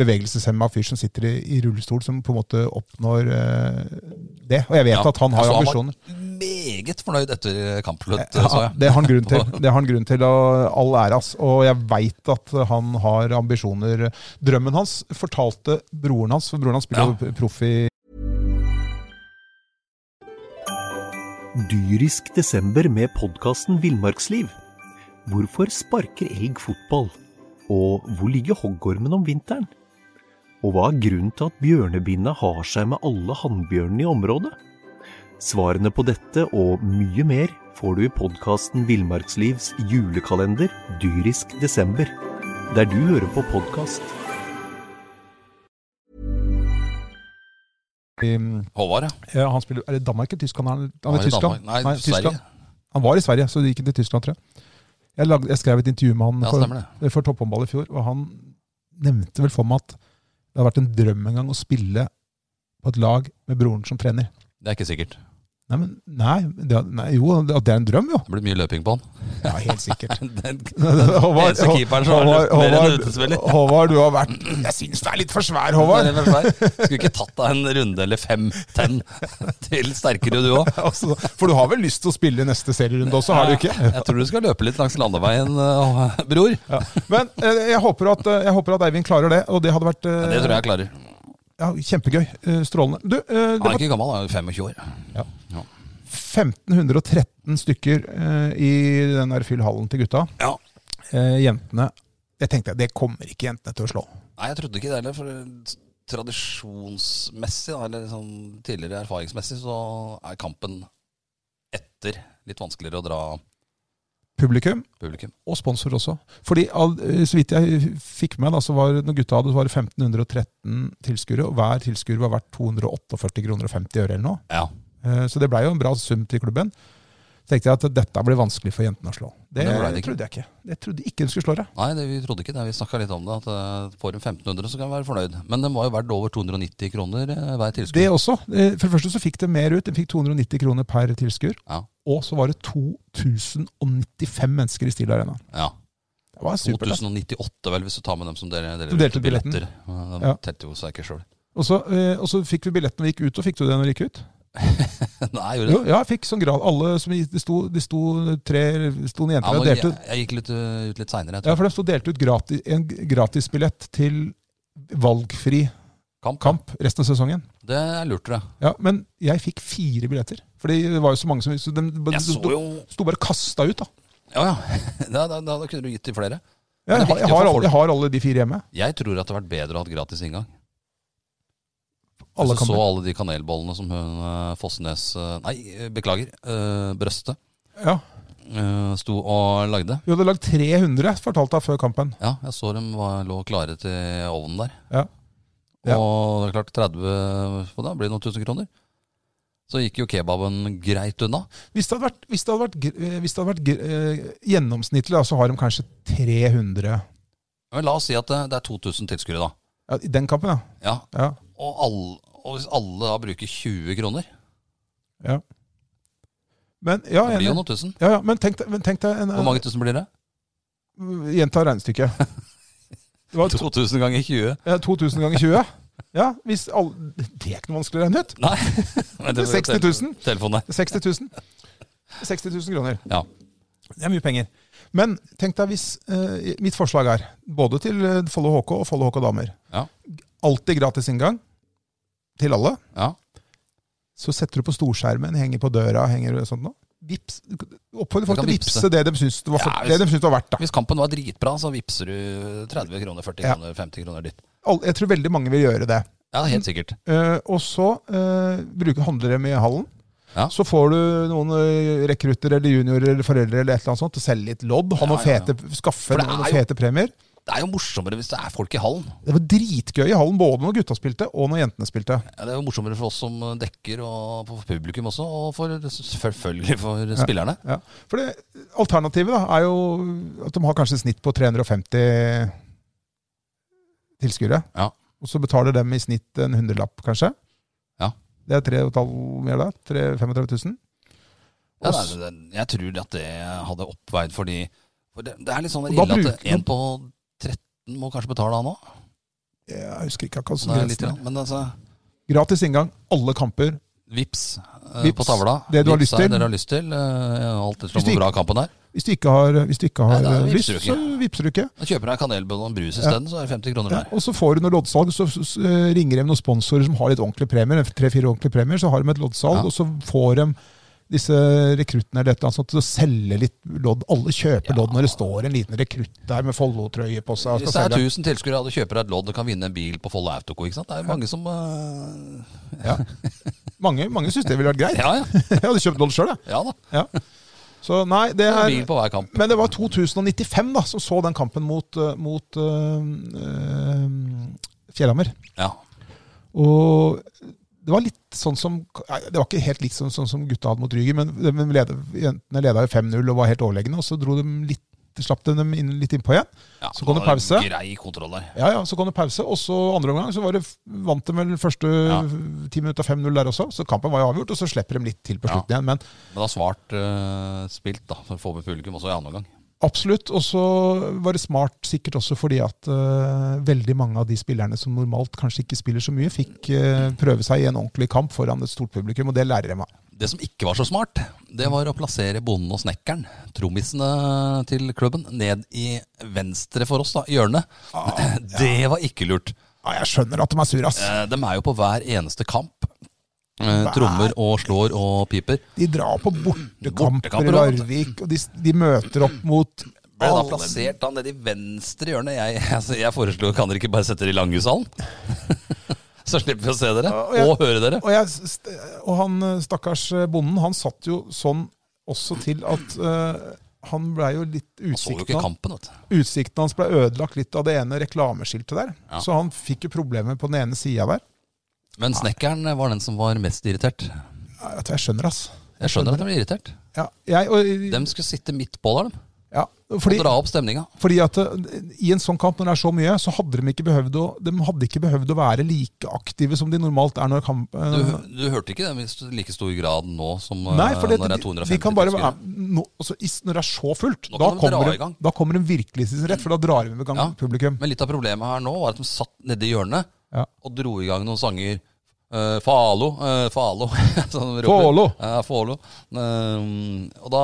A: bevegelseshemma fyr som sitter i, i rullestol, som på en måte oppnår eh, det. Og jeg vet
B: Ja.
A: at han har
B: Altså,
A: ambisjoner.
B: var meget fornøyd etter kampløtt, så
A: Ja,
B: jeg.
A: det har han grunn til. Det har han grunn til, og all ære. ass. Og jeg veit at han har ambisjoner. Drømmen hans fortalte broren hans, for broren hans spiller jo proff i
C: Dyrisk desember med podkasten Villmarksliv. Hvorfor sparker elg fotball? Og hvor ligger hoggormen om vinteren? Og hva er grunnen til at bjørnebinna har seg med alle hannbjørnene i området? Svarene på dette og mye mer får du i podkasten Villmarkslivs julekalender Dyrisk desember, der du hører på podkast.
A: i-
B: Håvard, ja.
A: ja, Han spiller Er det Danmark eller Tyskland? Han, han
B: Var
A: er i
B: i
A: Tyskland.
B: Danmark. Nei,
A: Tyskland.
B: Sverige.
A: Han var i Sverige, så det gikk til Tyskland, tror jeg. Jeg, lagde, jeg skrev et intervju med han
B: Ja,
A: for,
B: stemmer det.
A: for topphåndball i fjor, og han nevnte vel for meg at det har vært en drøm en gang å spille på et lag med broren som trener.
B: Det er ikke sikkert. Det
A: Nei, men nei, det, nei jo, at det er en drøm, jo.
B: blir mye løping på han.
A: Ja, helt sikkert.
B: Den,
A: Håvard,
B: eneste keeperen som har løpt mer enn utespiller.
A: Håvard, Håvard, du har vært Jeg syns du er litt for svær, Håvard!
B: den er svær. Skulle ikke tatt deg en runde eller fem-ten til sterkere, du òg.
A: Altså, for du har vel lyst til å spille neste serierunde også, har du ikke?
B: Jeg tror du skal løpe litt langs landeveien, eh, bror.
A: Ja. Men eh, jeg håper, at, eh, jeg håper at Eivind klarer det, og det hadde vært eh,
B: Det tror jeg jeg klarer.
A: Ja, kjempegøy. Eh, Strålende. Du, eh, det
B: Han er
A: var
B: ikke gammel, han er jo 25 år.
A: Ja.
B: Ja.
A: 1513 stykker eh, i den der fyllhallen til gutta.
B: Ja.
A: Eh, Jentene Det tenkte jeg, det kommer ikke jentene til å slå.
B: Nei, jeg trodde ikke det heller. For tradisjonsmessig, da, eller sånn tidligere erfaringsmessig, så er kampen etter litt vanskeligere å dra
A: Publikum
B: publikum.
A: og sponsor også. Fordi all, eh, så vidt jeg fikk med, da, så var når gutta hadde, så var det 1513 tilskuere, og hver tilskuer var verdt 248 kroner og 50 øre eller noe.
B: Ja.
A: Eh, Så det blei jo en bra sum til klubben. Så tenkte jeg at dette blir vanskelig for jentene å slå. Det,
B: Men det ble det ikke.
A: trodde jeg ikke. Det trodde jeg ikke de skulle slå det.
B: Nei, det, vi trodde ikke det. Vi snakka litt om det. At eh, får en 1500, så kan vi være fornøyd. Men den var jo verdt over 290 kroner eh, hver
A: Det
B: tilskudd.
A: også. Eh, For det første så fikk de mer ut. De fikk 290 kroner per tilskuer.
B: Ja.
A: Og så var det 2095 mennesker i Steel Arena.
B: Ja.
A: Det var supert. altså. ass.
B: 2098, vel, hvis du tar med dem som deler, deler
A: Du delte
B: ut
A: billetten.
B: Ja, De
A: Ja.
B: telte jo seg ikke sjøl.
A: Og så, eh, og så fikk vi billetten når vi gikk ut. Og fikk du det når vi gikk ut?
B: Nei, gjorde
A: Jo,
B: det?
A: ja, jeg fikk sånn grad. Alle som gikk- Det sto, det sto tre det sto noen
B: Ja,
A: jenter
B: men
A: og
B: jeg,
A: delte ut.
B: jeg gikk litt, eh, ut litt seinere.
A: Ja, for de sto delt ut gratis, en gratisbillett til valgfri
B: Kamp.
A: kamp resten av sesongen.
B: Det er lurt, tror jeg.
A: Ja, Men jeg fikk fire billetter. Fordi det var jo så mange som så de,
B: Jeg så
A: sto,
B: jo
A: sto bare kasta ut, da.
B: Ja, ja. Da, da, da, da kunne du gitt til flere.
A: Ja, jeg, har- jeg,
B: Men det er viktig å få
A: har, alle-
B: folk-
A: jeg har alle de fire hjemme.
B: Jeg tror at det hadde vært bedre å ha hatt gratis inngang.
A: Alle
B: Hvis du så
A: kamper.
B: alle de kanelbollene som hun eh, Fossnes eh, Nei, eh, beklager. eh, Brøstet
A: Ja.
B: eh, sto og lagde.
A: Vi hadde lagd 300, fortalte hun før kampen.
B: Ja, jeg så dem var, lå klare til ovnen der.
A: Ja. Ja.
B: Og det er klart 30 på det, blir det noen tusen kroner. Så gikk jo kebaben greit unna.
A: Hvis det hadde vært, hvis det hadde vært, gr- eh, hvis det hadde vært gr- eh, gjennomsnittlig, da, så har de kanskje 300
B: Men la oss si at det, det er 2000 tilskuere, da.
A: ja, I den kampen, ja.
B: Ja,
A: ja.
B: og, alle, og hvis alle da bruker 20 kroner,
A: Men, ja,
B: det blir jo
A: enig.
B: noen tusen.
A: Ja, ja, men tenk deg- men tenk deg en, eh,
B: Hvor mange tusen blir det?
A: Gjenta regnestykket. Det var to,
B: 2000 ganger 20.
A: eh, 2000 ganger 20. Ja, hvis alle, Det er ikke noe vanskelig å regne ut.
B: Nei. Men
A: Det er 60 000.
B: Telefonen der.
A: 60 000. 60 000 kroner.
B: Ja.
A: Det er mye penger. Men tenk deg hvis eh, Mitt forslag er, både til eh, Follo HK og Follo HK damer
B: Ja.
A: Alltid gratis inngang til alle.
B: ja.
A: Så setter du på storskjermen, henger på døra, henger og sånt nå. Vips. Oppfordrer
B: Du
A: folk
B: kan
A: til å
B: vipse.
A: vipse det de syns det var, for,
B: Ja,
A: det de syns det var verdt. Da.
B: Hvis kampen var dritbra, så vipser du 30 kroner, 40
A: Ja.
B: kroner, 50 kroner ditt.
A: Alle- Jeg tror veldig mange vil gjøre det.
B: Ja, helt sikkert.
A: Eh, og så eh, bruker handlere med hallen.
B: Ja.
A: Så får du noen eh, rekrutter eller juniorer eller foreldre eller et eller annet sånt til å selge litt lodd. Ha noen
B: Ja, ja, ja.
A: fete, skaffe
B: For det
A: noen
B: er jo-
A: fete premier.
B: Det er jo morsommere hvis det er folk i hallen.
A: Det var dritgøy i hallen, både når gutta spilte og når jentene spilte.
B: Ja, Det er jo morsommere for oss som dekker, og for publikum også, og for, selvfølgelig for spillerne.
A: Ja. For det, alternativet da, er jo at de har kanskje et snitt på 350 tilskuere.
B: Ja.
A: Og så betaler dem i snitt en hundrelapp, kanskje.
B: Ja.
A: Det er 3,5 mer da. 3 35 000.
B: Ja, det, er- det, jeg tror at det hadde oppveid for de for det, det er litt sånn
A: Og da
B: ille at
A: bruker man-
B: en på 13 må kanskje betale han òg.
A: Jeg husker ikke akkurat
B: Det er litt
A: grensene.
B: grann, Men altså,
A: Gratis inngang, alle kamper.
B: vips, eh,
A: Vips,
B: på tavla.
A: det du har
B: Vips
A: lyst til.
B: er Det du har lyst til. eh, Alt etter
A: Hvis du
B: hvor bra kampen er.
A: Hvis du ikke har, hvis du ikke har
B: Nei, da
A: eh, lyst,
B: vipser du
A: så
B: ikke.
A: vipser du ikke.
B: Da kjøper du deg en kanelbolle og en brus isteden, så er det 50 kroner
A: Ja,
B: der.
A: og så får du noe loddsalg, så, så, så eh, ringer de noen sponsorer som har litt ordentlige premier, tre-fire ordentlige premier, så har de et loddsalg,
B: Ja.
A: og så får de disse rekruttene eller et eller annet sånt til å selge litt lodd. Alle kjøper lodd når det står en liten rekrutt der med Follo-trøye på seg. og
B: Hvis det
A: skal
B: er
A: selge.
B: 1000 tilskuere og du kjøper deg et lodd og kan vinne en bil på Follo Autoco, ikke sant? Det er jo mange som eh,
A: Mange, mange syns det ville vært greit.
B: Ja ja.
A: Jeg hadde kjøpt lodd sjøl, jeg.
B: ja da.
A: Ja. Så nei, det
B: En
A: er
B: bil på hver kamp.
A: Men det var 2095 da, som så den kampen mot, eh, mot eh, eh, Fjellhammer.
B: Ja.
A: Og det var litt sånn som nei, Det var ikke helt likt sånn, sånn som gutta hadde mot Ryger, men de leda, jentene leda jo 5-0 og var helt overlegne. Og så dro de litt, slapp de dem inn, litt innpå igjen.
B: ja.
A: Så kom det
B: var en
A: pause.
B: Grei kontroll der.
A: Ja, ja, Så kom det pause, og så andre omgang så var det, vant de vel første
B: Ja.
A: ti minutter av 5-0 der også. Så kampen var jo avgjort, og så slipper de litt til på
B: Ja.
A: slutten igjen. Men
B: Men det har svart eh, spilt, da, for å få med publikum også i annen omgang.
A: Absolutt. Og så var det smart sikkert også fordi at eh, veldig mange av de spillerne som normalt kanskje ikke spiller så mye, fikk eh, prøve seg i en ordentlig kamp foran et stort publikum, og det lærer jeg meg.
B: Det som ikke var så smart, det var å plassere bonden og snekkeren, trommisene til klubben, ned i venstre for oss, da, i hjørnet.
A: Ah,
B: Det var ikke lurt.
A: Ja, jeg skjønner at de er sur, ass.
B: Eh, De er jo på hver eneste kamp. Eh, Trommer og slår og piper.
A: De drar på bortekamper
B: Bortekamper,
A: i
B: ja.
A: Larvik, og de, de møter opp mot
B: Ble da
A: alle-
B: plassert da nede i venstre hjørne. Jeg, altså, jeg foreslo kan dere ikke bare sette dere i Langhushallen? Så slipper vi å se dere
A: Og jeg-
B: og høre dere.
A: Og, jeg, st- og han eh, stakkars eh, bonden, han satt jo sånn også til at eh, han blei jo litt
B: Man så jo ikke
A: utsikta.
B: kampen, vet du.
A: Utsikten hans ble ødelagt litt av det ene reklameskiltet der.
B: Ja.
A: Så han fikk jo problemer på den ene sida der.
B: Men snekkeren var den som var mest irritert.
A: Ja, vet du, Jeg skjønner, ass.
B: Jeg skjønner at de blir irritert.
A: Ja, jeg, og,
B: De skulle sitte midt på der, de.
A: ja,
B: Og
A: fordi,
B: dra opp stemninga.
A: fordi at eh, i en sånn kamp, når det er så mye, så hadde de ikke behøvd å, de hadde ikke behøvd å være like aktive som de normalt er når kamp... eh,
B: Du, du hørte ikke det i like stor grad nå som eh,
A: Nei, for det,
B: når det er
A: de,
B: 250
A: de kan bare
B: tilskuere.
A: være, nå, altså, is- Når det er så fullt,
B: Nå
A: da
B: kan de dra
A: kommer,
B: i gang.
A: de, da kommer de virkelig til sin rett, for da drar vi med gang
B: Ja.
A: publikum.
B: Men litt av problemet her nå var at de satt nede i hjørnet
A: Ja.
B: og dro i gang noen sanger. Eh, Falo, eh, Falo. som de roper.
A: Falo.
B: Ja, Falo. Eh, og da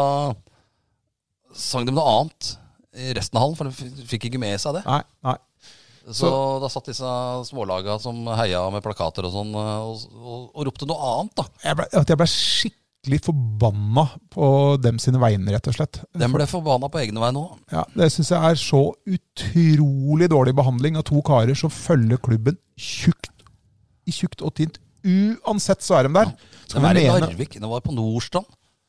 B: sang de noe annet i resten av hallen, for de f- fikk ikke med seg det.
A: Nei, nei.
B: Så, da satt disse smålaga som heia med plakater og sånn, eh, og, og, og ropte noe annet, da.
A: Jeg ble, at jeg ble skikkelig forbanna på dem sine vegne, rett og slett.
B: De ble forbanna på egne vei nå.
A: Ja, det syns jeg er så utrolig dårlig behandling av to karer som følger klubben tjukt i tjukt og tynt. Uansett så er de der.
B: De
A: Skal
B: er
A: vi
B: i
A: mene
B: Larvik, de var på Nordstrand.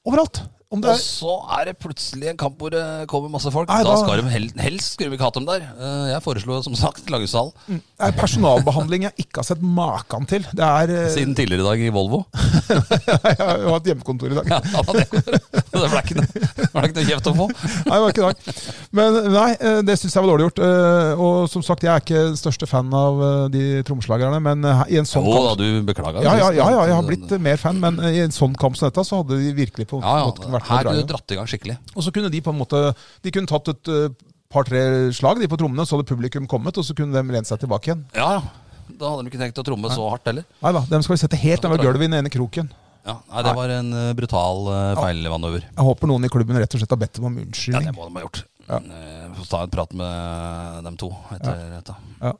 A: overalt? Om det
B: Og
A: er,
B: så er det plutselig en kamp hvor det kommer masse folk.
A: Nei,
B: da,
A: da-
B: skal de hel, helst skulle vi ikke hatt dem der. Eh, Jeg foreslo som sagt Langhushallen
A: er personalbehandling jeg ikke har sett maken til. Det er eh,
B: siden tidligere i dag i Volvo.
A: Jeg har jo hatt hjemmekontor i dag.
B: Ja, da var det det ble ikke noe, det ble ikke noe kjeft å få.
A: Nei, det var ikke i dag. Men nei, eh, det syns jeg var dårlig gjort. Eh, Og som sagt, jeg er ikke den største fan av eh, de tromslagerne, men eh, i en
B: Jo
A: sånn
B: da,
A: kamp
B: du beklaga.
A: ja, ja, ja, ja, jeg har blitt eh, mer fan, men eh, i en sånn kamp som dette, så hadde de virkelig på en
B: eh, ja,
A: måte
B: ja,
A: vært med å
B: Her
A: dra
B: kunne
A: igjen.
B: du dratt i gang skikkelig.
A: Og så kunne de på en måte De kunne tatt et eh, par-tre slag de på trommene, så hadde publikum kommet, og så kunne de lent seg tilbake igjen.
B: Ja, ja. Da hadde de ikke tenkt å tromme så hardt heller.
A: Nei da, dem skal vi sette helt over gulvet i den ene kroken.
B: Ja, nei, Det var en eh, brutal eh, feilmanøver.
A: Jeg håper noen i klubben rett og slett har bedt dem om
B: Ja,
A: unnskyldning.
B: det må de ha gjort. Eh, Får ta en prat med dem to etter dette.
A: Ja.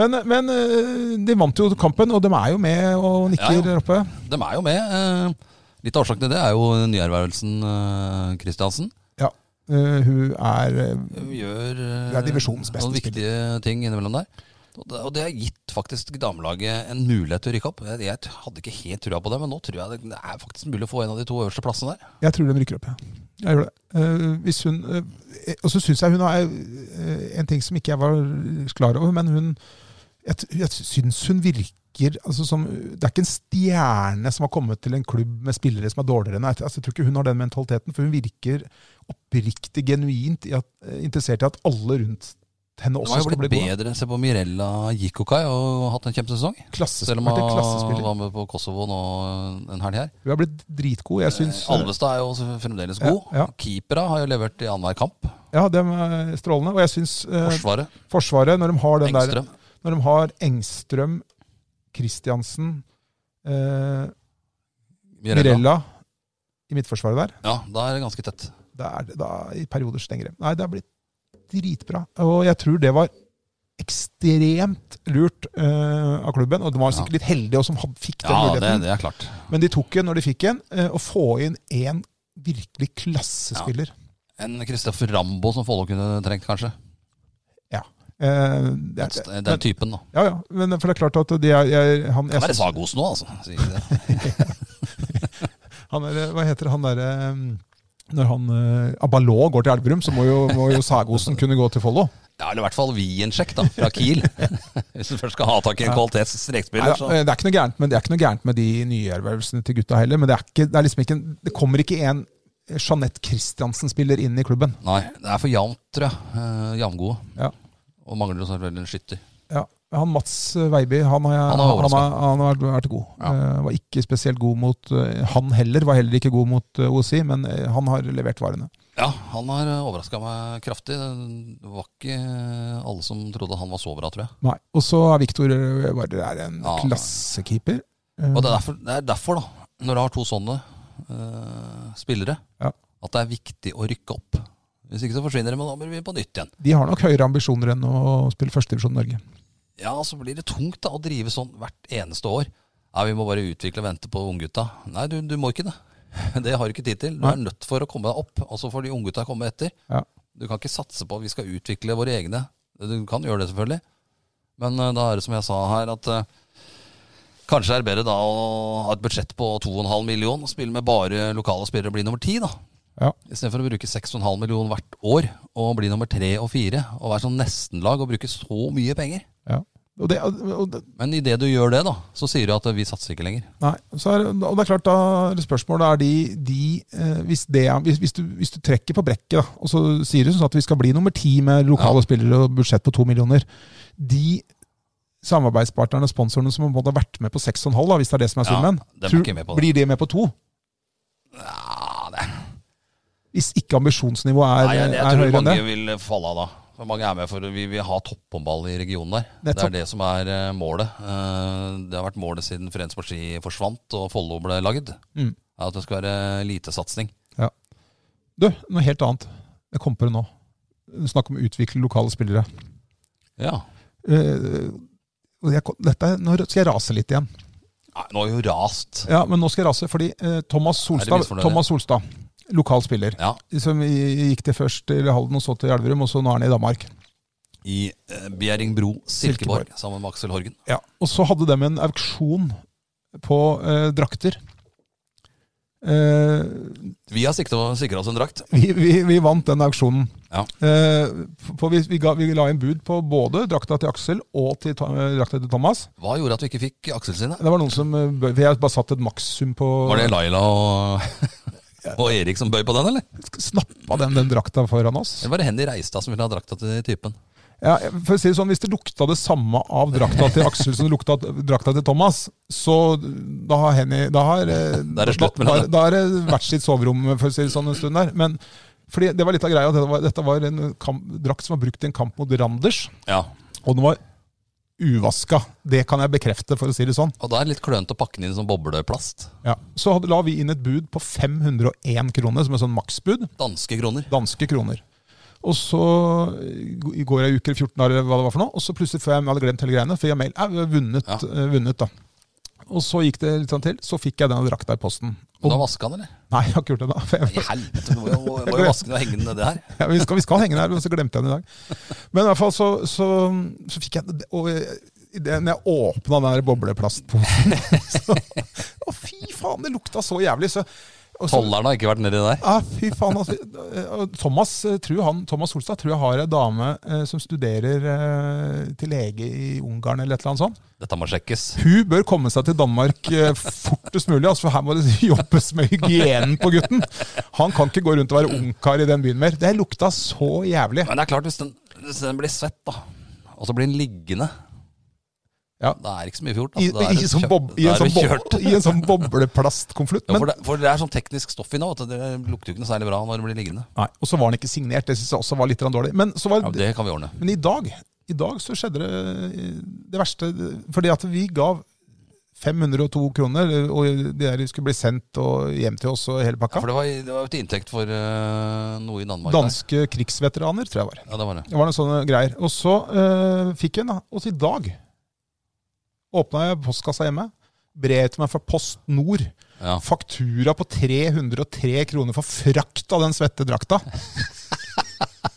A: Men, men eh, de vant jo kampen, og de er jo med og nikker
B: Ja, ja.
A: der oppe.
B: De er jo med. eh, Litt av årsaken til det er jo nyervervelsen eh, Kristiansen.
A: Ja. eh, hun er eh,
B: Hun gjør
A: Hun er divisjonens beste
B: noen viktige ting innimellom der. Og det, og det har gitt faktisk damelaget en mulighet til å rykke opp. Jeg, jeg hadde ikke helt trua på det, men nå tror jeg det, det er faktisk mulig å få en av de to øverste plassene der.
A: Jeg tror de rykker opp, ja. Jeg gjør det. Eh, hvis hun, eh, og så syns jeg hun har eh, en ting som ikke jeg var klar over, men hun Jeg, t- jeg syns hun virker altså som Det er ikke en stjerne som har kommet til en klubb med spillere som er dårligere enn henne. Altså, jeg tror ikke hun har den mentaliteten, for hun virker oppriktig genuint i at, eh, interessert i at alle rundt henne
B: Hun
A: også
B: har jo
A: skal bli
B: blitt
A: gode.
B: bedre. Se på Mirella Jikokai og hatt en kjempesesong. Selv
A: Klassespiller,
B: om
A: vært en
B: han
A: klassespiller.
B: var med på Kosovo nå en helg her.
A: Hun har blitt dritgod.
B: Eh,
A: Jeg syns
B: Alvestad er jo fremdeles god.
A: Ja, Eh, ja.
B: Keepera har jo levert i annenhver kamp.
A: Ja, de er strålende. Og jeg syns eh,
B: Forsvaret.
A: Forsvaret, når de har den der
B: Engstrøm.
A: Når de har Engstrøm, Kristiansen, eh,
B: Mirella.
A: Mirella i midtforsvaret der,
B: Ja, da er det ganske tett.
A: da er det da i perioder stengere. Nei, det har blitt dritbra. Og jeg tror det var ekstremt lurt eh, av klubben. Og de var sikkert litt heldige også, som had- fikk den
B: Ja, det,
A: muligheten.
B: det er klart.
A: Men de tok den når de fikk den. eh, Å få inn én virkelig klassespiller.
B: En Kristoffer Rambo som Follo kunne trengt, kanskje.
A: Eh, det
B: Den,
A: er,
B: den typen, da.
A: ja, ja. Men eh, for det er klart at de er, jeg, han,
B: Kan
A: jeg,
B: være Sagos nå, altså. Sier ikke det.
A: Han er, hva heter han derre Når han eh, Abalå går til Elverum, så må jo, må jo Sagosen kunne gå til Follo.
B: Ja, eller i hvert fall Wiensjekk, da, fra Kiel. Hvis du først skal ha tak i en
A: Nei,
B: kvalitetsstrekspiller, så
A: eh, Det er ikke noe gærent med, det er ikke noe gærent med de nyervervelsene til gutta heller, men det, er ikke, det, er liksom ikke, en- det kommer ikke en eh, Jeanette Christiansen-spiller inn i klubben.
B: Nei, det er for jevnt, tror jeg. Eh, Jevngode.
A: Ja.
B: Og mangler jo selvfølgelig en skytter.
A: Ja, han Mats eh, Veiby han har,
B: Han
A: han
B: har
A: har,
B: overrasket.
A: han har vært god. Eh, var ikke spesielt god mot eh, Han heller var heller ikke god mot eh, OSI, men eh, han har levert varene.
B: Ja, han har overraska meg kraftig. Det var ikke eh, alle som trodde han var så bra, tror jeg.
A: Nei, Og så er Viktor er en
B: Ja.
A: klassekeeper. Eh,
B: Og det er derfor, det er derfor da, når du har to sånne eh, spillere,
A: Ja.
B: at det er viktig å rykke opp. Hvis ikke så forsvinner de, men da blir vi på nytt igjen.
A: De har nok høyere ambisjoner enn å spille førstedivisjon Norge.
B: Ja, så blir det tungt da, å drive sånn hvert eneste år. Nei, vi må bare utvikle og vente på unggutta. Nei, du, du må ikke det. Det har du ikke tid til. Du er nødt for å komme deg opp, og så får de unggutta komme etter.
A: Ja.
B: Du kan ikke satse på at vi skal utvikle våre egne. Du kan gjøre det selvfølgelig, men eh, da er det som jeg sa her, at eh, kanskje er det bedre da å ha et budsjett på 2,5 million og spille med bare lokale spillere og bli nummer 10, da.
A: Ja.
B: Istedenfor å bruke 6,5 million hvert år og bli nummer 3 og 4 og være sånn nestenlag og bruke så mye penger.
A: ja. Og, det, og, det,
B: Men idet du gjør det, da, så sier du at eh, vi satser ikke lenger.
A: nei, så er, og det er klart da er det spørsmålet er de, de eh, hvis, det, er- hvis, hvis, du, hvis du trekker på brekket da, og så sier du sånn at vi skal bli nummer ti med lokale spillere og budsjett på to millioner De samarbeidspartnerne og sponsorene som på en måte har vært med på seks og en halv, da, hvis det er det som er
B: Ja,
A: summen,
B: dem er
A: tror-
B: ikke med på det.
A: blir de med på to?
B: Ja, det,
A: Hvis ikke ambisjonsnivået er,
B: nei, jeg,
A: er
B: jeg tror
A: høyere enn
B: mange
A: det?
B: vil falle av da. For mange er med for vi vil ha topphåndball i regionen der. Det
A: Nettopp.
B: er det som er eh, målet. Eh, Det har vært målet siden Fredensborg Ski forsvant og Follo ble lagd.
A: Mm.
B: er At det skal være elitesatsing.
A: Du, noe helt annet. Jeg kom på det nå. Snakk om å utvikle lokale spillere.
B: Ja.
A: Eh, og jeg, dette, nå skal jeg rase litt igjen.
B: Nei, nå har jo rast.
A: Ja, Men nå skal jeg rase, fordi eh, Thomas
B: Er det
A: Solstad,
B: misfornøyd?
A: Thomas Solstad lokal spiller,
B: Ja,
A: som i- gikk til først til Halden, og så til Elverum, og så nå er han i Danmark.
B: i eh, Bjerringbro, Silkeborg, sammen med Aksel Horgen.
A: Ja, Og så hadde de en auksjon på eh, drakter. Eh,
B: Vi har sikta- sikra oss en drakt.
A: vi, vi, vi vant den auksjonen.
B: Ja.
A: Eh, for vi, vi, ga, vi la inn bud på både drakta til Aksel og til, Tho- eh, drakta til Thomas.
B: Hva gjorde at vi ikke fikk Aksel sine?
A: Det var noen som eh, bø- Vi har bare satt et makssum på
B: Var det Laila og, og Erik som bøy på den, eller?
A: Snappa den, den drakta foran oss.
B: Eller var det Henny Reistad som ville ha drakta til typen?
A: Ja, for å si det sånn, Hvis det lukta det samme av drakta til Aksel som det lukta av drakta til Thomas, så da har Henny Da har eh,
B: Da er det slutt med
A: da,
B: det.
A: da er det hvert sitt soverom for å si det sånn en stund der. Men fordi det var litt av greia. at Dette var, dette var en kamp, drakt som var brukt i en kamp mot Randers,
B: Ja.
A: og den var uvaska. Det kan jeg bekrefte, for å si det sånn.
B: Og da er det litt klønete å pakke den inn som bobleplast.
A: Ja. Så hadde, la vi inn et bud på 501 kroner, som er sånn maksbud.
B: Danske kroner.
A: danske kroner. Og så eh, i går ei uke eller 14 dager, eller hva det var for noe, og så plutselig får jeg, jeg hadde glemt hele greiene, for jeg mail, jeg har vunnet,
B: Ja.
A: eh, vunnet da. Og så gikk det litt sånn til, så fikk jeg den drakta i posten.
B: Og da vaska han, eller?
A: Nei, jeg har ikke gjort det da. For jeg,
B: I helvete, du må jo, må jo vaske den og henge den nedi her.
A: ja, vi, skal, vi skal henge den her, men så glemte jeg den i dag. Men i hvert fall så, så, så fikk jeg den. Og eh, i det, når jeg åpna den her bobleplastposen så, Å, fy faen, det lukta så jævlig. Så, og så-
B: Tolleren har ikke vært nedi der.
A: Ja, fy faen. Altså, Og Thomas, eh, tror han, Thomas Solstad tror jeg har ei dame eh, som studerer eh, til lege i Ungarn eller et eller annet sånt.
B: Dette må sjekkes.
A: Hun bør komme seg til Danmark eh, fortest mulig, altså, for her må det jobbes med hygienen på gutten. Han kan ikke gå rundt og være ungkar i den byen mer. Det lukta så jævlig.
B: Men det er klart, hvis den, hvis den blir svett, da, og så blir den liggende
A: Ja.
B: Da er det ikke så mye fjort.
A: I,
B: Altså, Da er
A: i,
B: det
A: sånn
B: kjøpt-
A: bob, i, en
B: da er
A: sånn
B: det
A: bob, I en sånn bobleplastkonvolutt.
B: Ja, for,
A: Men,
B: det, for det er sånn teknisk stoff i nå, at det lukter jo ikke noe særlig bra når det blir liggende.
A: nei, og så var den ikke signert. Det syns jeg også var litt grann dårlig. Men, så var,
B: Ja, Det kan vi ordne.
A: men i dag i dag så skjedde det eh, det verste. Fordi at vi ga 502 kroner, og de der skulle bli sendt og hjem til oss og hele
B: Ja,
A: pakka.
B: for det var, det var jo til inntekt for eh, noe i Danmark. der.
A: Danske krigsveteraner, tror jeg var.
B: Ja, det var det.
A: Det var noen sånne greier. Og så eh, fikk jeg den, da. Og så i dag åpna jeg postkassa hjemme. Brev til meg fra Post Nord.
B: Ja.
A: Faktura på 303 kroner for frakt av den svette drakta.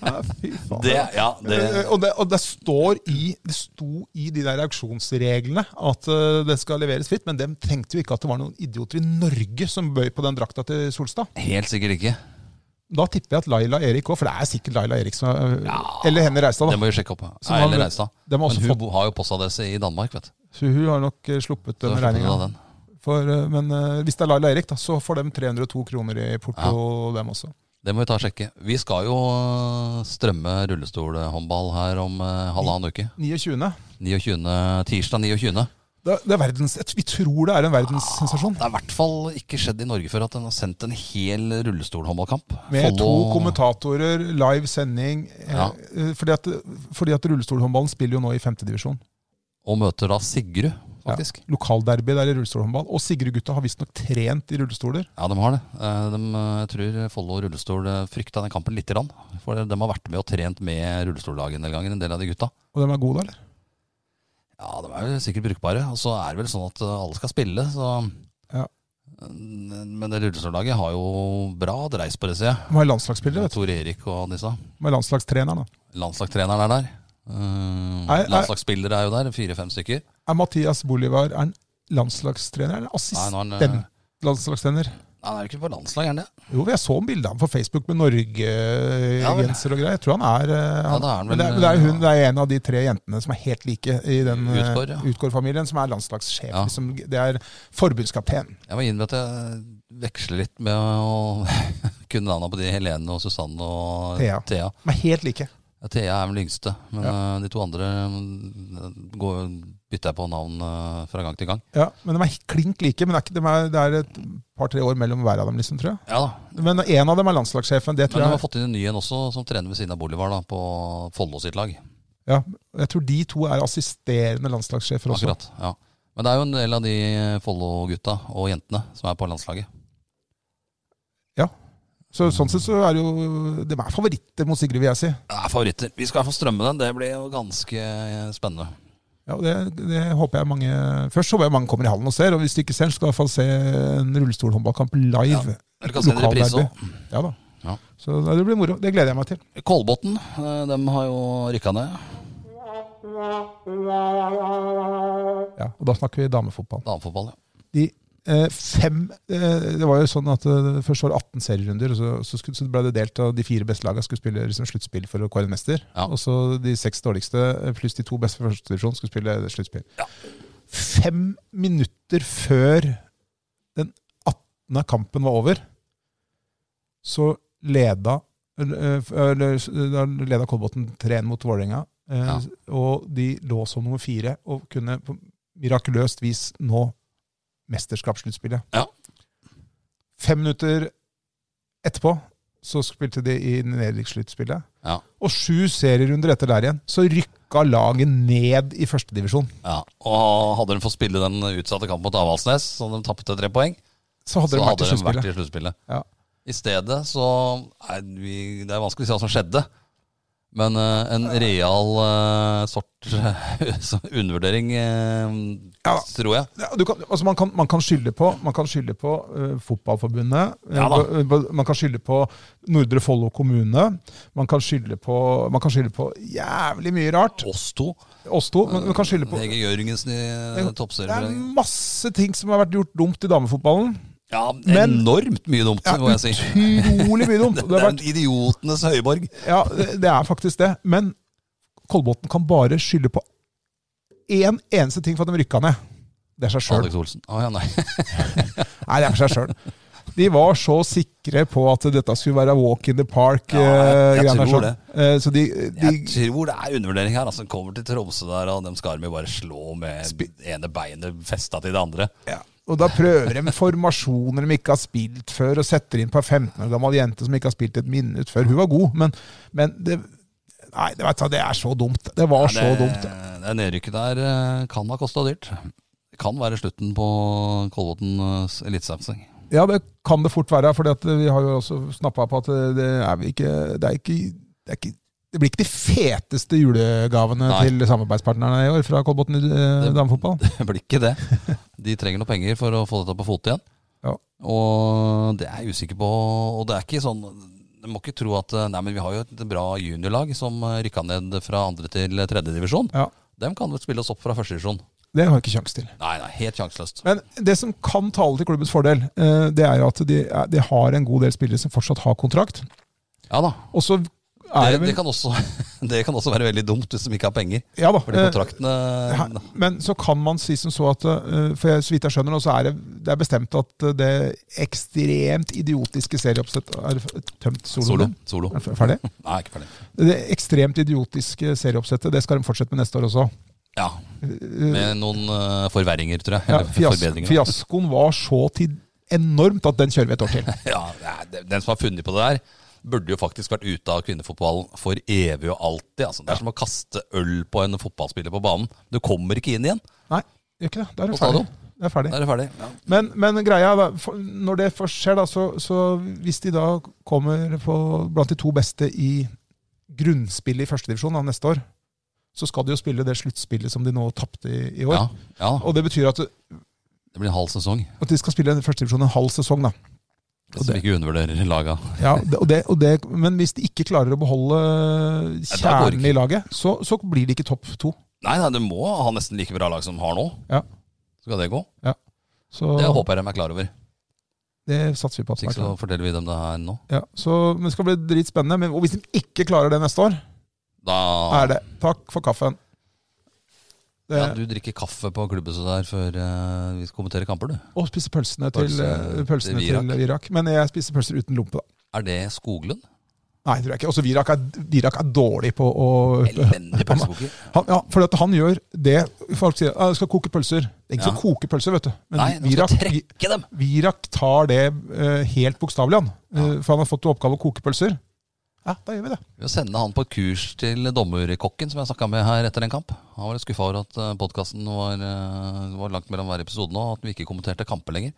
A: Ja, fy faen.
B: Det, ja, det,
A: Eh, og, det, og det står i Det sto i de der auksjonsreglene at eh, det skal leveres fritt, men dem tenkte jo ikke at det var noen idioter i Norge som bøy på den drakta til Solstad.
B: helt sikkert ikke.
A: Da tipper jeg at Laila Erik òg, for det er sikkert Laila Erik som Eller Henny Reistad,
B: Det
A: da.
B: må vi sjekke opp.
A: Så
B: Nei,
A: har
B: eller
A: vi-
B: Reistad.
A: de har
B: Men
A: også
B: hun
A: fått-
B: bo- har jo postadresse i Danmark, vet du.
A: Så hun har nok eh, sluppet
B: Så
A: den
B: slipper du
A: regninga.
B: da den.
A: Men eh, hvis det er Laila Erik, da, så får de 302 kroner i porto, dem også.
B: Det må vi ta og sjekke. Vi skal jo øh, strømme rullestolhåndball her om øh, halvannen uke.
A: 29.
B: 29. Tirsdag 29.
A: Det, det er verdens, jeg- vi tror det er en verdenssensasjon.
B: Det er i hvert fall ikke skjedd i Norge før at en har sendt en hel rullestolhåndballkamp.
A: Med to
B: Follo-
A: kommentatorer, live sending. eh,
B: Ja.
A: eh, Fordi at, fordi at rullestolhåndballen spiller jo nå i femtedivisjon.
B: Og møter da Sigrud, faktisk. Ja,
A: Lokalderby der i rullestolhåndball. Og Sigrud-gutta har visstnok trent i rullestoler.
B: de har det. Eh, De, eh, jeg tror Follo rullestol eh, frykta den kampen lite grann. For de har vært med og trent med rullestollaget en del ganger, en del av de gutta.
A: Og de er gode, da, eller?
B: Ja, de er jo sikkert brukbare. Og så er det vel sånn at eh, alle skal spille, så
A: Ja.
B: Men det rullestollaget har jo bra dreis på det, ser jeg.
A: De har landslagsspillere, vet du.
B: Tor Erik og disse.
A: De har landslagstreneren, da.
B: Landslagstreneren er der. Uh,
A: Nei, nei.
B: landslagsspillere er jo der, fire-fem stykker.
A: Er Mathias Bolivar er en landslagstrener eller
B: Nei, nå er han, eh,
A: assistent-landslagstrener?
B: Nei, han er ikke på landslag, er han det?
A: Jo, jeg så en bilde av ham på Facebook med
B: Ja, vel.
A: Norge-genser og greier. Jeg tror han er, eh, han,
B: da er han
A: men det,
B: vel,
A: men det er jo hun,
B: ja.
A: det er en av de tre jentene som er helt like i den eh,
B: Utgård, ja.
A: Utgård-familien, som er landslagssjef.
B: Ja.
A: Liksom, det er forbundskapten.
B: Jeg må innrømme at jeg veksler litt med å kunne navnene på de Helene og Susanne og
A: Thea.
B: Thea.
A: De er helt like.
B: Ja, Thea er vel yngste, men eh, de to andre mm, går, bytter jeg på navn eh, fra gang til gang.
A: Ja, men De er klink like, men det er, ikke, de er, det er et par-tre år mellom hver av dem, liksom, tror jeg.
B: Ja da.
A: Men en av dem er landslagssjefen. Det
B: Men
A: tror
B: de har
A: jeg,
B: fått inn en ny en også, som trener ved siden av Bolivar da, på Follo sitt lag.
A: ja, jeg tror de to er assisterende landslagssjefer også.
B: Akkurat, ja. Men det er jo en del av de Follo-gutta og jentene som er på landslaget.
A: Så Sånn sett så er det jo De er favoritter mot Sigrid, vil jeg si.
B: Det er favoritter. Vi skal i hvert fall strømme den. Det blir jo ganske eh, spennende.
A: Ja, og det, det håper jeg mange Først så håper jeg mange kommer i hallen og ser, og hvis de ikke ser, så skal de i hvert fall se en rullestolhåndballkamp live.
B: Dere kan se det i reprise
A: Lokalderby.
B: også.
A: Ja da.
B: Ja.
A: Så nei, det blir moro. Det gleder jeg meg til.
B: Kolbotn, eh, de har jo rykka ned.
A: Ja, og da snakker vi damefotball.
B: Damefotball, ja.
A: De eh, fem eh, Det var jo sånn at eh, først var det 18 serierunder, og så, så, skulle, så ble det delt av de fire beste lagene skulle spille liksom, sluttspill for å kåre en mester.
B: Ja.
A: Og så de seks dårligste eh, pluss de to beste fra første divisjon skulle spille sluttspill.
B: Ja.
A: Fem minutter før den 18. kampen var over, så leda eller, eh, eller, da leda Kolbotn 3-1 mot Vålerenga. eh,
B: Ja.
A: Og de lå som nummer fire og kunne på mirakuløst vis nå mesterskapssluttspillet.
B: Ja.
A: Fem minutter etterpå så spilte de i nedrykksluttspillet.
B: Ja.
A: Og sju serierunder etter der igjen så rykka laget ned i førstedivisjon.
B: ja. Og hadde de fått spille den utsatte kampen mot Avaldsnes, så de tapte tre poeng,
A: Så hadde
B: så
A: de vært i
B: hadde de vært
A: sluttspillet.
B: i sluttspillet.
A: Ja.
B: I stedet så er vi, Det er vanskelig å si hva som skjedde. Men eh, en real eh, sort sånn undervurdering, eh,
A: Ja.
B: tror jeg.
A: Ja, du kan, altså man, kan, man kan skylde på, man kan skylde på eh, Fotballforbundet.
B: Ja da.
A: eh, på- man kan skylde på Nordre Follo kommune. Man kan skylde på, man kan skylde på jævlig mye rart.
B: Oss to.
A: Oss to. Men man kan skylde på
B: Hege Jørgensen i eh,
A: Det er
B: toppserien.
A: masse ting som har vært gjort dumt i damefotballen.
B: Ja,
A: Men-
B: enormt mye dumt,
A: Ja,
B: må jeg si.
A: Utrolig mye dumt.
B: Det
A: og Det
B: er
A: har
B: en
A: vært,
B: idiotenes høyborg.
A: ja, det det er faktisk det. Men Kolbotn kan bare skylde på én eneste ting for at de rykka ned. Det er seg sjøl.
B: Alex Olsen. Å ja, nei.
A: Nei, det er for seg sjøl. De var så sikre på at dette skulle være walk in the park.
B: Ja, jeg- jeg
A: eh, greiene
B: tror
A: der, sånn. Eh, Så de, de
B: Jeg tror det er undervurdering her. Altså, kommer til Tromsø der, og dem skal de bare slå med ene beinet festa til det andre.
A: ja. Og da prøver de formasjoner de ikke har spilt før, og setter inn på ei 15 år gammel jente som ikke har spilt et minutt før. Hun var god, men, men det, Nei, det, vet du, hva, det er så dumt. Det var
B: Det,
A: så dumt.
B: det nedrykket der eh, kan ha kosta dyrt. Det kan være slutten på Kolbotns elitesatsing.
A: Ja, det kan det fort være, for vi har jo også snappa på at det er vi ikke Det er ikke det, er ikke, det blir ikke de feteste julegavene
B: Nei.
A: til samarbeidspartnerne i år fra Kolbotn eh,
B: Det-
A: damefotball.
B: Det blir ikke det. De trenger noe penger for å få dette på fot igjen.
A: Ja.
B: Og det er jeg usikker på. Og det er ikke sånn Du må ikke tro at eh, Nei, men vi har jo et bra juniorlag som rykka ned fra andre til tredjedivisjon.
A: Ja,
B: Dem kan vel spille oss opp fra førstedivisjon.
A: Det har jeg ikke kjangs til.
B: Nei, nei, helt sjanseløst.
A: Men det som kan tale til klubbens fordel, eh, det er jo at de, er- de har en god del spillere som fortsatt har kontrakt.
B: Ja da.
A: Og så er
B: Det,
A: det
B: det,
A: vel
B: kan også, det kan også være veldig dumt hvis de ikke har penger.
A: Ja da.
B: Fordi
A: eh,
B: kontraktene
A: her- Men så kan man si som så at eh, For jeg, så vidt jeg skjønner, nå, så er det, det er bestemt at eh, det ekstremt idiotiske serieoppsett er f- tømt
B: Solo.
A: soloen.
B: Solo.
A: Er f- Ferdig?
B: Nei, ikke ferdig.
A: Det ekstremt idiotiske serieoppsettet, det skal de fortsette med neste år også.
B: Ja, med noen eh, forverringer, tror jeg.
A: Eh, Ja,
B: Eller
A: fias
B: forbedringer.
A: fiaskoen var så til enormt at den kjører vi et år til.
B: Ja, nei, det- Den som har funnet på det der, burde jo faktisk vært ute av kvinnefotballen for evig og alltid. Altså, det er som å kaste øl på en fotballspiller på banen. Du kommer ikke inn igjen.
A: Nei, gjør ikke det. Da er
B: På
A: det ferdig.
B: stadion.
A: Det er ferdig.
B: Da er det ferdig. Ja.
A: Men, men greia er, da, for- når det først skjer, da, så, så hvis de da kommer på blant de to beste i grunnspillet i førstedivisjon neste år, så skal de jo spille det sluttspillet som de nå tapte i, i år.
B: Ja, ja,
A: Og det betyr at,
B: det blir en halv sesong.
A: at de skal spille førstedivisjon en halv sesong, da.
B: Hvis vi ikke undervurderer laga.
A: Ja, det, og det, og det, men hvis de ikke klarer å beholde
B: da går det
A: kjernen i laget, så, så blir de ikke topp to.
B: Nei, nei, du må ha nesten like bra lag som har nå.
A: Ja.
B: Skal det gå?
A: Så
B: Det håper jeg de er klar over.
A: det satser vi på at
B: Hvis
A: de er
B: ikke så
A: klare.
B: forteller vi dem det her nå.
A: Ja, så, men det skal bli dritspennende. Men, og hvis de ikke klarer det neste år,
B: Da
A: er det takk for kaffen. Det,
B: Ja, du drikker kaffe på klubbhuset der før eh, vi kommenterer kamper, du.
A: Og spise pølsene, til,
B: Pølse-
A: eh, pølsene
B: til Virak.
A: til Virak. Men jeg spiser pølser uten lompe, da.
B: Er det Skoglund?
A: Nei, tror jeg ikke. Også Virak er, Virak er dårlig på å
B: Elendig pølsekoker.
A: han, ja, For at han gjør det folk sier. «Ah, Jeg skal koke pølser. Det er ikke
B: Ja.
A: så koke pølser, vet du. Men
B: Nei, de skal
A: Virak, Vi-
B: trekke dem!
A: Virak tar det eh, helt bokstavelig, han. Eh, for han har fått i oppgave å koke pølser. Ja, da gjør vi det.
B: Vi må sende han på kurs til dommerkokken som jeg snakka med her etter en kamp. Han var litt skuffa over at podkasten var, eh, var langt mellom hver episode nå, og at vi ikke kommenterte kamper lenger.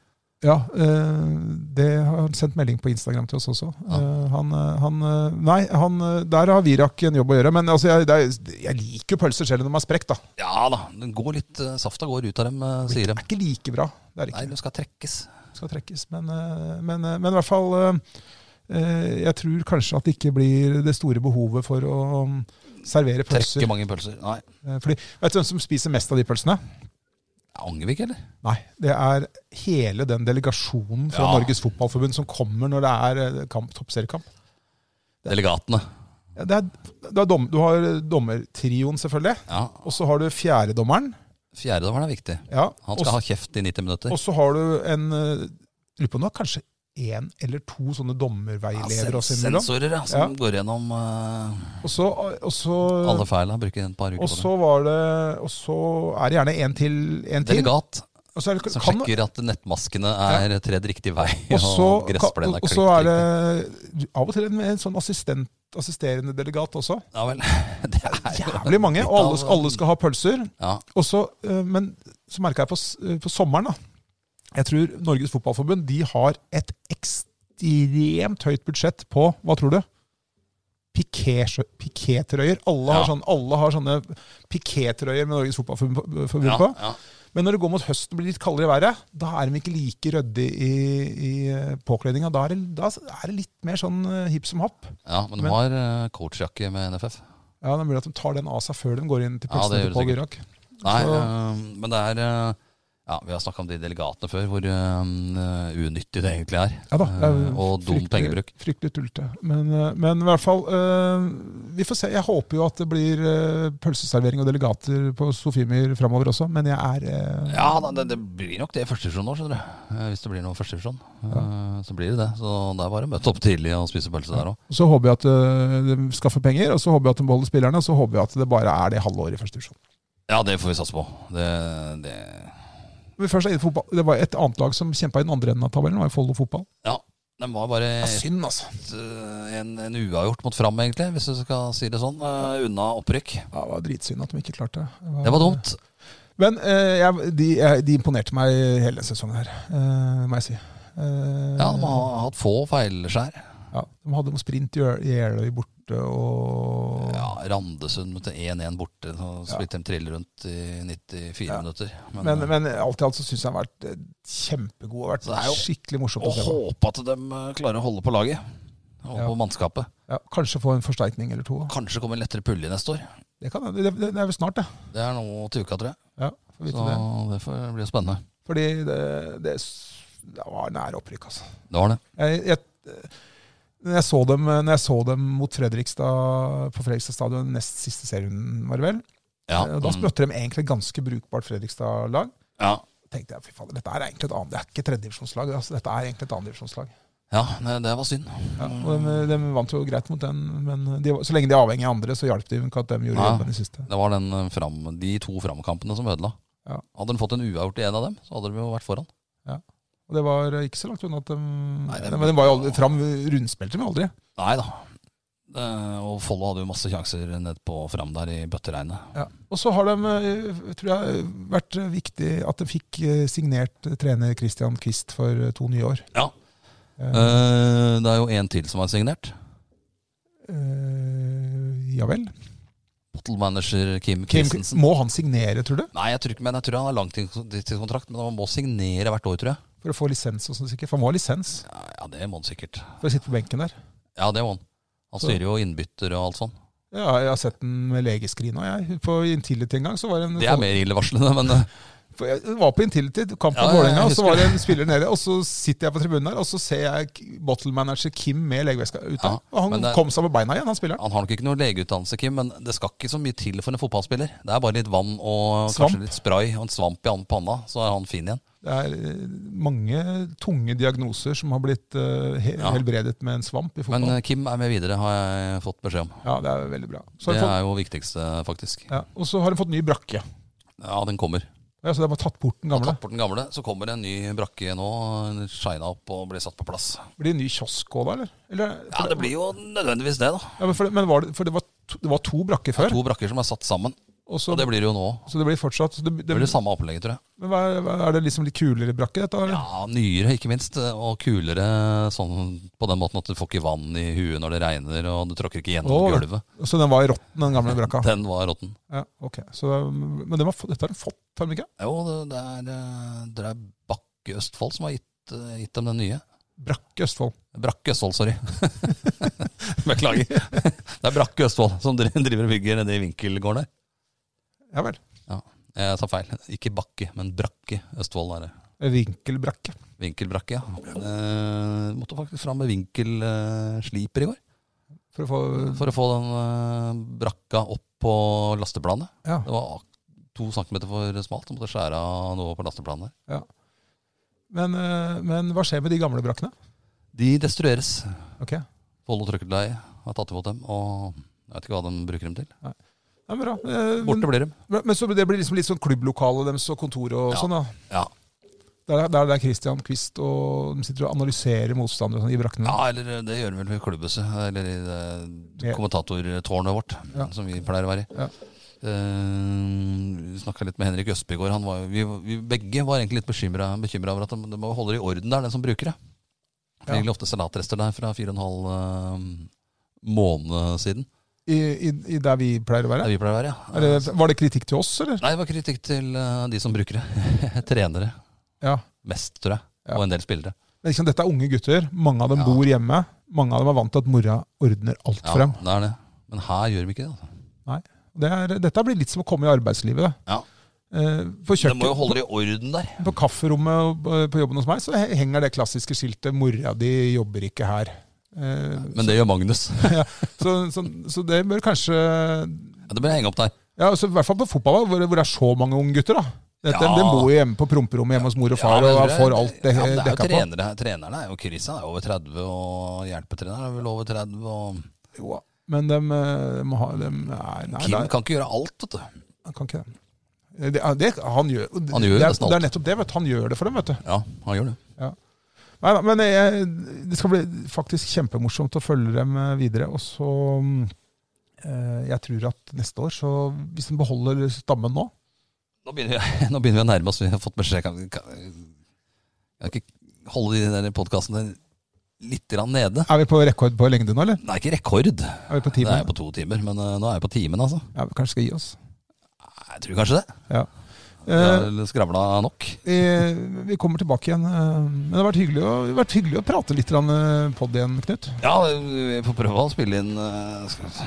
A: Ja, eh, det har han sendt melding på Instagram til oss også.
B: Ja.
A: Eh, han, eh, han, eh, nei, han, eh, der har Virak en jobb å gjøre. Men altså, jeg, det er, jeg liker jo pølser selv om de er sprekt, da.
B: Ja da, den går litt, eh, safta går ut av dem, eh, sier
A: Det
B: de.
A: er ikke like bra. Det er det
B: Nei,
A: ikke.
B: de skal trekkes.
A: skal trekkes. Men, eh, men, eh, men i hvert fall eh, eh, Jeg tror kanskje at det ikke blir det store behovet for å um, servere pølser.
B: Trekke mange pølser. Nei,
A: Eh, Fordi, vet du hvem som spiser mest av de pølsene?
B: Angevik, eller?
A: Nei, det er hele den delegasjonen fra
B: Ja.
A: Norges Fotballforbund som kommer når det er eh, kamp, toppseriekamp.
B: Delegatene.
A: Ja, det er, det er dom, du har dommertrioen, selvfølgelig.
B: Ja,
A: Og så har du fjerdedommeren.
B: Fjerdedommeren er viktig.
A: Ja.
B: Han
A: og
B: skal ha kjeft i 90 minutter.
A: Og så har du en eh, Lurer på om du har kanskje én eller to sånne dommerveiledere også
B: sen-
A: innimellom.
B: sensorer ja, som
A: Ja.
B: går gjennom eh,
A: Og så, og så,
B: alle feilene. Bruker et par uker
A: og
B: på det.
A: så var det Og så er det gjerne en til. En til
B: Delegat
A: og så er det,
B: som
A: kan,
B: sjekker at nettmaskene er tredd riktig vei.
A: og så,
B: og
A: kan,
B: gressplenen
A: og
B: er
A: så
B: klipt
A: er det
B: riktig.
A: av og til en, en sånn assistent, assisterende delegat også.
B: Ja vel. Det er jo
A: Jævlig mange. Og alle, skal- alle skal ha pølser.
B: ja.
A: Og så, eh, men så merka jeg på, s- eh, på sommeren, da. Jeg tror Norges Fotballforbund de har et ekstremt høyt budsjett på Hva tror du? piqué- piqué-trøyer. Alle, har
B: Ja.
A: sånn, alle har sånne piqué-trøyer med Norges Fotballforbund på- forbund
B: Ja,
A: på.
B: ja.
A: Men når det går mot høsten og blir litt kaldere i været, da er de ikke like ryddige i, i eh, påkledninga. Da, er det- da er det litt mer sånn eh, hipp som happ.
B: ja, men de
A: Men-
B: har eh, coachjakke med NFF.
A: Ja, Det er mulig at de tar den av seg før de går inn til
B: Ja, det
A: pølsene
B: gjør
A: til Pål
B: det
A: Gyrak.
B: Nei,
A: Så-
B: eh, men det er eh, Ja, vi har snakka om de delegatene før, hvor eh, unyttig det egentlig er.
A: Ja da, det er
B: Eh, og dum
A: fryktelig-
B: pengebruk.
A: Fryktelig tullete. Men, eh, men i hvert fall, eh, vi får se. Jeg håper jo at det blir eh, pølseservering og delegater på Sofiemyr framover også, men jeg er eh,
B: Ja, da, det, det blir nok det i første divisjon nå, skjønner du. Eh, Hvis det blir noe første divisjon, eh, så blir det det. Så det er bare å møte opp tidlig og spise pølse der òg.
A: Så håper jeg at eh, de skaffer penger, og så håper jeg at de beholder spillerne, og så håper jeg at det bare er det halve året i første divisjon.
B: Ja, det får vi satse på. Det, det
A: Men først er det fotball. Det var et annet lag som kjempa i den andre enden av tabellen, var jo Follo fotball.
B: Ja. Den var bare
A: Ja, synd, altså.
B: et, eh, en, en uavgjort mot Fram, egentlig, hvis du skal si det sånn. eh, unna opprykk.
A: Ja, det var dritsynd at de ikke klarte det.
B: Det var dumt.
A: Men eh, jeg, de, jeg, de imponerte meg hele sesongen her, eh, må jeg si. Eh,
B: Ja, de har hatt få feilskjær.
A: Ja, de hadde noe sprint i Øl- i Jeløy borte og
B: Ja, Randesund møtte 1-1 borte. Så spilte de trill rundt i 94
A: Ja.
B: minutter. eh,
A: men, men alt i alt så syns jeg han har vært eh, kjempegod og vært
B: Så det er jo-
A: skikkelig morsomt å
B: og
A: se på.
B: håpe at de eh, klarer å holde på laget. Og
A: Ja.
B: på mannskapet.
A: Ja, kanskje få en forsterkning eller to.
B: Kanskje kommer en lettere pulje neste år.
A: Det, kan, det, det, det er vel snart, det.
B: Det er nå til uka, tror jeg.
A: Ja, får vite
B: Så
A: det.
B: det får bli spennende.
A: Fordi det, det, s- det var nær opprykk, altså.
B: Det var det.
A: Jeg, jeg, når, jeg så dem, når jeg så dem mot Fredrikstad på Fredrikstad stadion nest siste serierunden, var det vel,
B: Ja,
A: eh, da
B: mm,
A: sprøtte de egentlig et ganske brukbart Fredrikstad-lag.
B: ja.
A: tenkte jeg, fy faen, dette er egentlig et annet, det er ikke tredjedivisjonslag, altså, dette er egentlig et andredivisjonslag.
B: ja, det, det var synd.
A: Ja, og de, de vant jo greit mot den, men de, var- så lenge de er avhengig av andre, så hjalp det jo ikke at de gjorde
B: Ja.
A: jobben i siste.
B: Det var den eh, fram, de to framkampene som ødela.
A: Ja.
B: Hadde de fått en uavgjort i en av dem, så hadde de jo vært foran.
A: Og det var ikke så langt unna at de
B: Nei, det-
A: Men de var jo aldri fram, rundspilte de aldri.
B: Nei da. Eh, Og Follo hadde jo masse sjanser ned på fram der i bøtteregnet.
A: Ja. Og så har de, eh, tror jeg, vært viktig at de fikk eh, signert trener Christian Quist for eh, to nye år.
B: Ja.
A: Eh,
B: Eh, Det er jo en til som er signert.
A: eh, ja vel.
B: Bottle manager Kim
A: Kim,
B: Christensen.
A: må han signere, tror du?
B: Nei, jeg tror, ikke, men jeg tror han har langtidskontrakt, men han må signere hvert år, tror jeg.
A: For å få lisens og sånn sikkert. For han må ha lisens
B: Ja, ja, det må han sikkert.
A: for å sitte på benken der.
B: Ja, det må han. Han
A: Så-
B: styrer jo innbytter og alt sånn.
A: Ja, jeg har sett den med legeskrin òg, jeg. På Intility en gang. Så var det en,
B: Det er mer illevarslende, men eh,
A: For jeg var på Intility, kamp
B: Ja,
A: mot
B: ja, jeg
A: Vålerenga, og så
B: husker
A: var det en spiller nede. Og så sitter jeg på tribunen der, og så ser jeg k- bottle manager Kim med legeveska ute.
B: Ja,
A: og han
B: men det-
A: kom seg på beina igjen, han spilleren.
B: han har nok ikke noe legeutdannelse, Kim, men det skal ikke så mye til for en fotballspiller. Det er bare litt vann og
A: Svamp.
B: kanskje litt spray og en svamp i an- panna, så er han fin igjen.
A: Det er eh, mange tunge diagnoser som har blitt eh, he
B: Ja.
A: helbredet med en svamp i
B: Men
A: fotball.
B: eh, Kim er med videre, har jeg fått beskjed om.
A: ja, det er veldig bra. Så har
B: Det
A: de fått,
B: er jo viktigste, faktisk.
A: ja, og så har de fått ny brakke.
B: Ja, den kommer.
A: Ja, så de har tatt bort den gamle.
B: Tatt bort den gamle, så kommer en ny brakke nå. Shina opp og blir satt på plass.
A: Blir det en ny kiosk òg, da? Eller? eller
B: Ja, det blir jo nødvendigvis det, da.
A: Ja, men for, men var det, for det var to, det var to brakker før,
B: To brakker som er satt sammen.
A: og så,
B: Og det blir det jo nå.
A: så det blir fortsatt så det,
B: Det blir det samme opplegget, tror jeg.
A: Men hva er, hva er det liksom litt kulere brakke, dette? eller?
B: Ja, nyere ikke minst, og kulere sånn på den måten at du får ikke vann i huet når det regner, og du tråkker ikke gjennom
A: Å.
B: gulvet.
A: Så den var i råtten, den gamle brakka?
B: Den var råtten.
A: Ja, ok. Så, men den var, fått- dette har den fått, har den ikke?
B: Jo, det, det er, eh, det er Bakke Østfold som har gitt, eh, gitt dem den nye.
A: Brakke Østfold.
B: Brakke Østfold, sorry. Beklager. Det er Brakke Østfold som dri- driver og bygger nede i vinkelgården der.
A: Ja vel.
B: Jeg sa feil. Ikke Bakke, men Brakke Østfold er det.
A: Vinkelbrakke.
B: Vinkelbrakke, ja. Eh, måtte faktisk fram med vinkelsliper i går.
A: For å få
B: For å få den eh, brakka opp på lasteplanet.
A: Ja.
B: Det var ak- to centimeter for smalt. Jeg måtte skjære av noe på lasteplanet. der.
A: Men, eh, men hva skjer med de gamle brakkene?
B: De destrueres.
A: Ok.
B: Follo trøkkerleie har tatt imot dem, og jeg vet ikke hva de bruker dem til.
A: Ja, men bra. Eh, Men,
B: Borte blir de.
A: men så det blir liksom litt sånn klubblokale deres og kontor og
B: Ja.
A: sånn, da.
B: Ja.
A: Der, der, der Christian Quist og de sitter og analyserer motstandere og sånn, i brakkene.
B: ja, eller eh, det gjør de vel ved klubbhuset, eller i det
A: Ja.
B: kommentatortårnet vårt,
A: Ja.
B: som vi pleier å være i.
A: Ja.
B: Eh, vi snakka litt med Henrik Østby i går. Han var, jo- vi, vi begge var egentlig litt bekymra over at de, de må holde det i orden der, den som bruker det. Det
A: Ja.
B: ligger ofte salatrester der fra 4,5 eh, måned siden.
A: I, i, i der vi pleier å være?
B: Der vi pleier å være, ja.
A: Er det, var det kritikk til oss, eller?
B: Nei, det var kritikk til eh, de som bruker det. Trenere
A: Ja.
B: mest, tror jeg.
A: Ja.
B: Og en del spillere.
A: Men liksom, dette er unge gutter. Mange av dem
B: Ja.
A: bor hjemme. Mange av dem er vant til at mora ordner alt
B: Ja,
A: for dem.
B: det er det. Men her gjør vi ikke det. altså.
A: Det er, dette blir litt som å komme i arbeidslivet. Da.
B: Ja.
A: Eh, På
B: Det må jo
A: kjøkken,
B: holde det i orden der.
A: på kafferommet og, eh, på jobben hos meg, så he- henger det klassiske skiltet 'Mora di jobber ikke her'. Eh,
B: Men det gjør Magnus.
A: Så, så, så det bør kanskje
B: Ja, det bør jeg henge opp der.
A: Ja, altså, I hvert fall på fotball, hvor, hvor det er så mange unge gutter. da. Dette,
B: Ja.
A: De bor jo hjemme på promperommet hjemme hos mor og
B: Ja,
A: far
B: men
A: og
B: det-
A: får alt det
B: ja, men det er
A: dekka
B: jo
A: på.
B: trenere, trenerne er jo Chris han er over 30, og hjelpetreneren er vel over 30. Og
A: Jo, men de, må ha de, Nei, nei
B: Kim
A: det er-
B: kan ikke gjøre alt, vet du.
A: han kan ikke det. Det, er- det, han gjør,
B: Han gjør
A: det, er,
B: nesten alt.
A: det er nettopp det. vet du. Han gjør det for dem, vet du.
B: Ja, han gjør det.
A: Nei da, men jeg, det skal bli faktisk kjempemorsomt å følge dem eh, videre. Og så mm, eh, Jeg tror at neste år, så hvis de beholder stammen nå
B: Nå begynner vi, nå begynner vi å nærme oss. Vi har fått beskjed kan, kan, kan ikke holde de der podkastene litt grann nede.
A: Er vi på rekord på lengde nå, eller?
B: Det er ikke rekord. Det
A: Er vi på
B: er
A: timen?
B: jo på to timer, men eh, nå er jeg på timen, altså.
A: Ja, vi kanskje skal gi oss.
B: Jeg tror kanskje det.
A: Ja.
B: Vi
A: Eh,
B: har skravla nok.
A: eh, vi kommer tilbake igjen. eh, men det har vært hyggelig å, det har vært hyggelig å prate litt pod igjen, Knut.
B: Ja, vi får prøve å spille inn eh, skal vi se.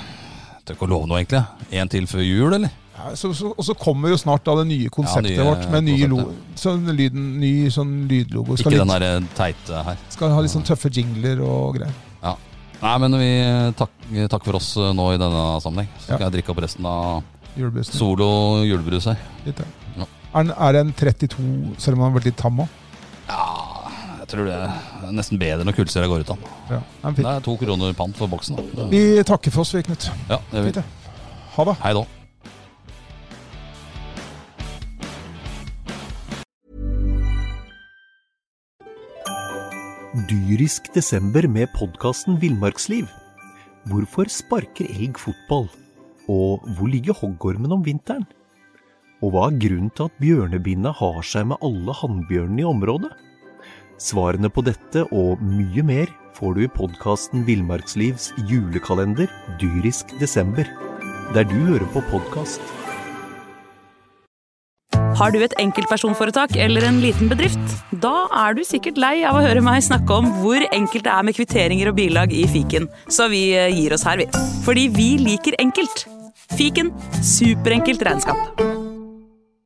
B: Tør ikke å love noe, egentlig. En til før jul, eller?
A: Ja, så, så, og så kommer jo snart da det nye konseptet
B: nye
A: vårt med ny, lo,
B: konseptet.
A: sånn, lyden, ny sånn lydlogo. Skal,
B: Ikke den
A: litt,
B: der eh, teite her.
A: skal ha litt sånn tøffe jingler og greier.
B: Ja. Nei, men vi takker takk for oss eh, nå i denne sammenheng.
A: Ja.
B: Så skal jeg drikke opp resten av
A: Julebussen.
B: solo julebrus her.
A: Litt, ja.
B: Ja.
A: Er, den- er det en 32, selv om han har vært litt tam òg?
B: Ja, jeg tror det er nesten bedre når kullsyra går ut av.
A: Ja. den er
B: Det
A: fin.
B: er to kroner pant for boksen. Da. Det-
A: Vi takker for oss, vi, Knut.
B: Ja, det
A: Fint,
B: vil.
A: det. Ha det.
B: Hei da.
C: Dyrisk desember med podkasten Villmarksliv. Hvorfor sparker elg fotball? Og hvor ligger hoggormen om vinteren? Og hva er grunnen til at bjørnebinna har seg med alle hannbjørnene i området? Svarene på dette og mye mer får du i podkasten Villmarkslivs julekalender dyrisk desember, der du hører på podkast.
D: Har du et enkeltpersonforetak eller en liten bedrift? Da er du sikkert lei av å høre meg snakke om hvor enkelt det er med kvitteringer og bilag i fiken, så vi eh, gir oss her, vi. Fordi vi liker enkelt. Fiken superenkelt regnskap.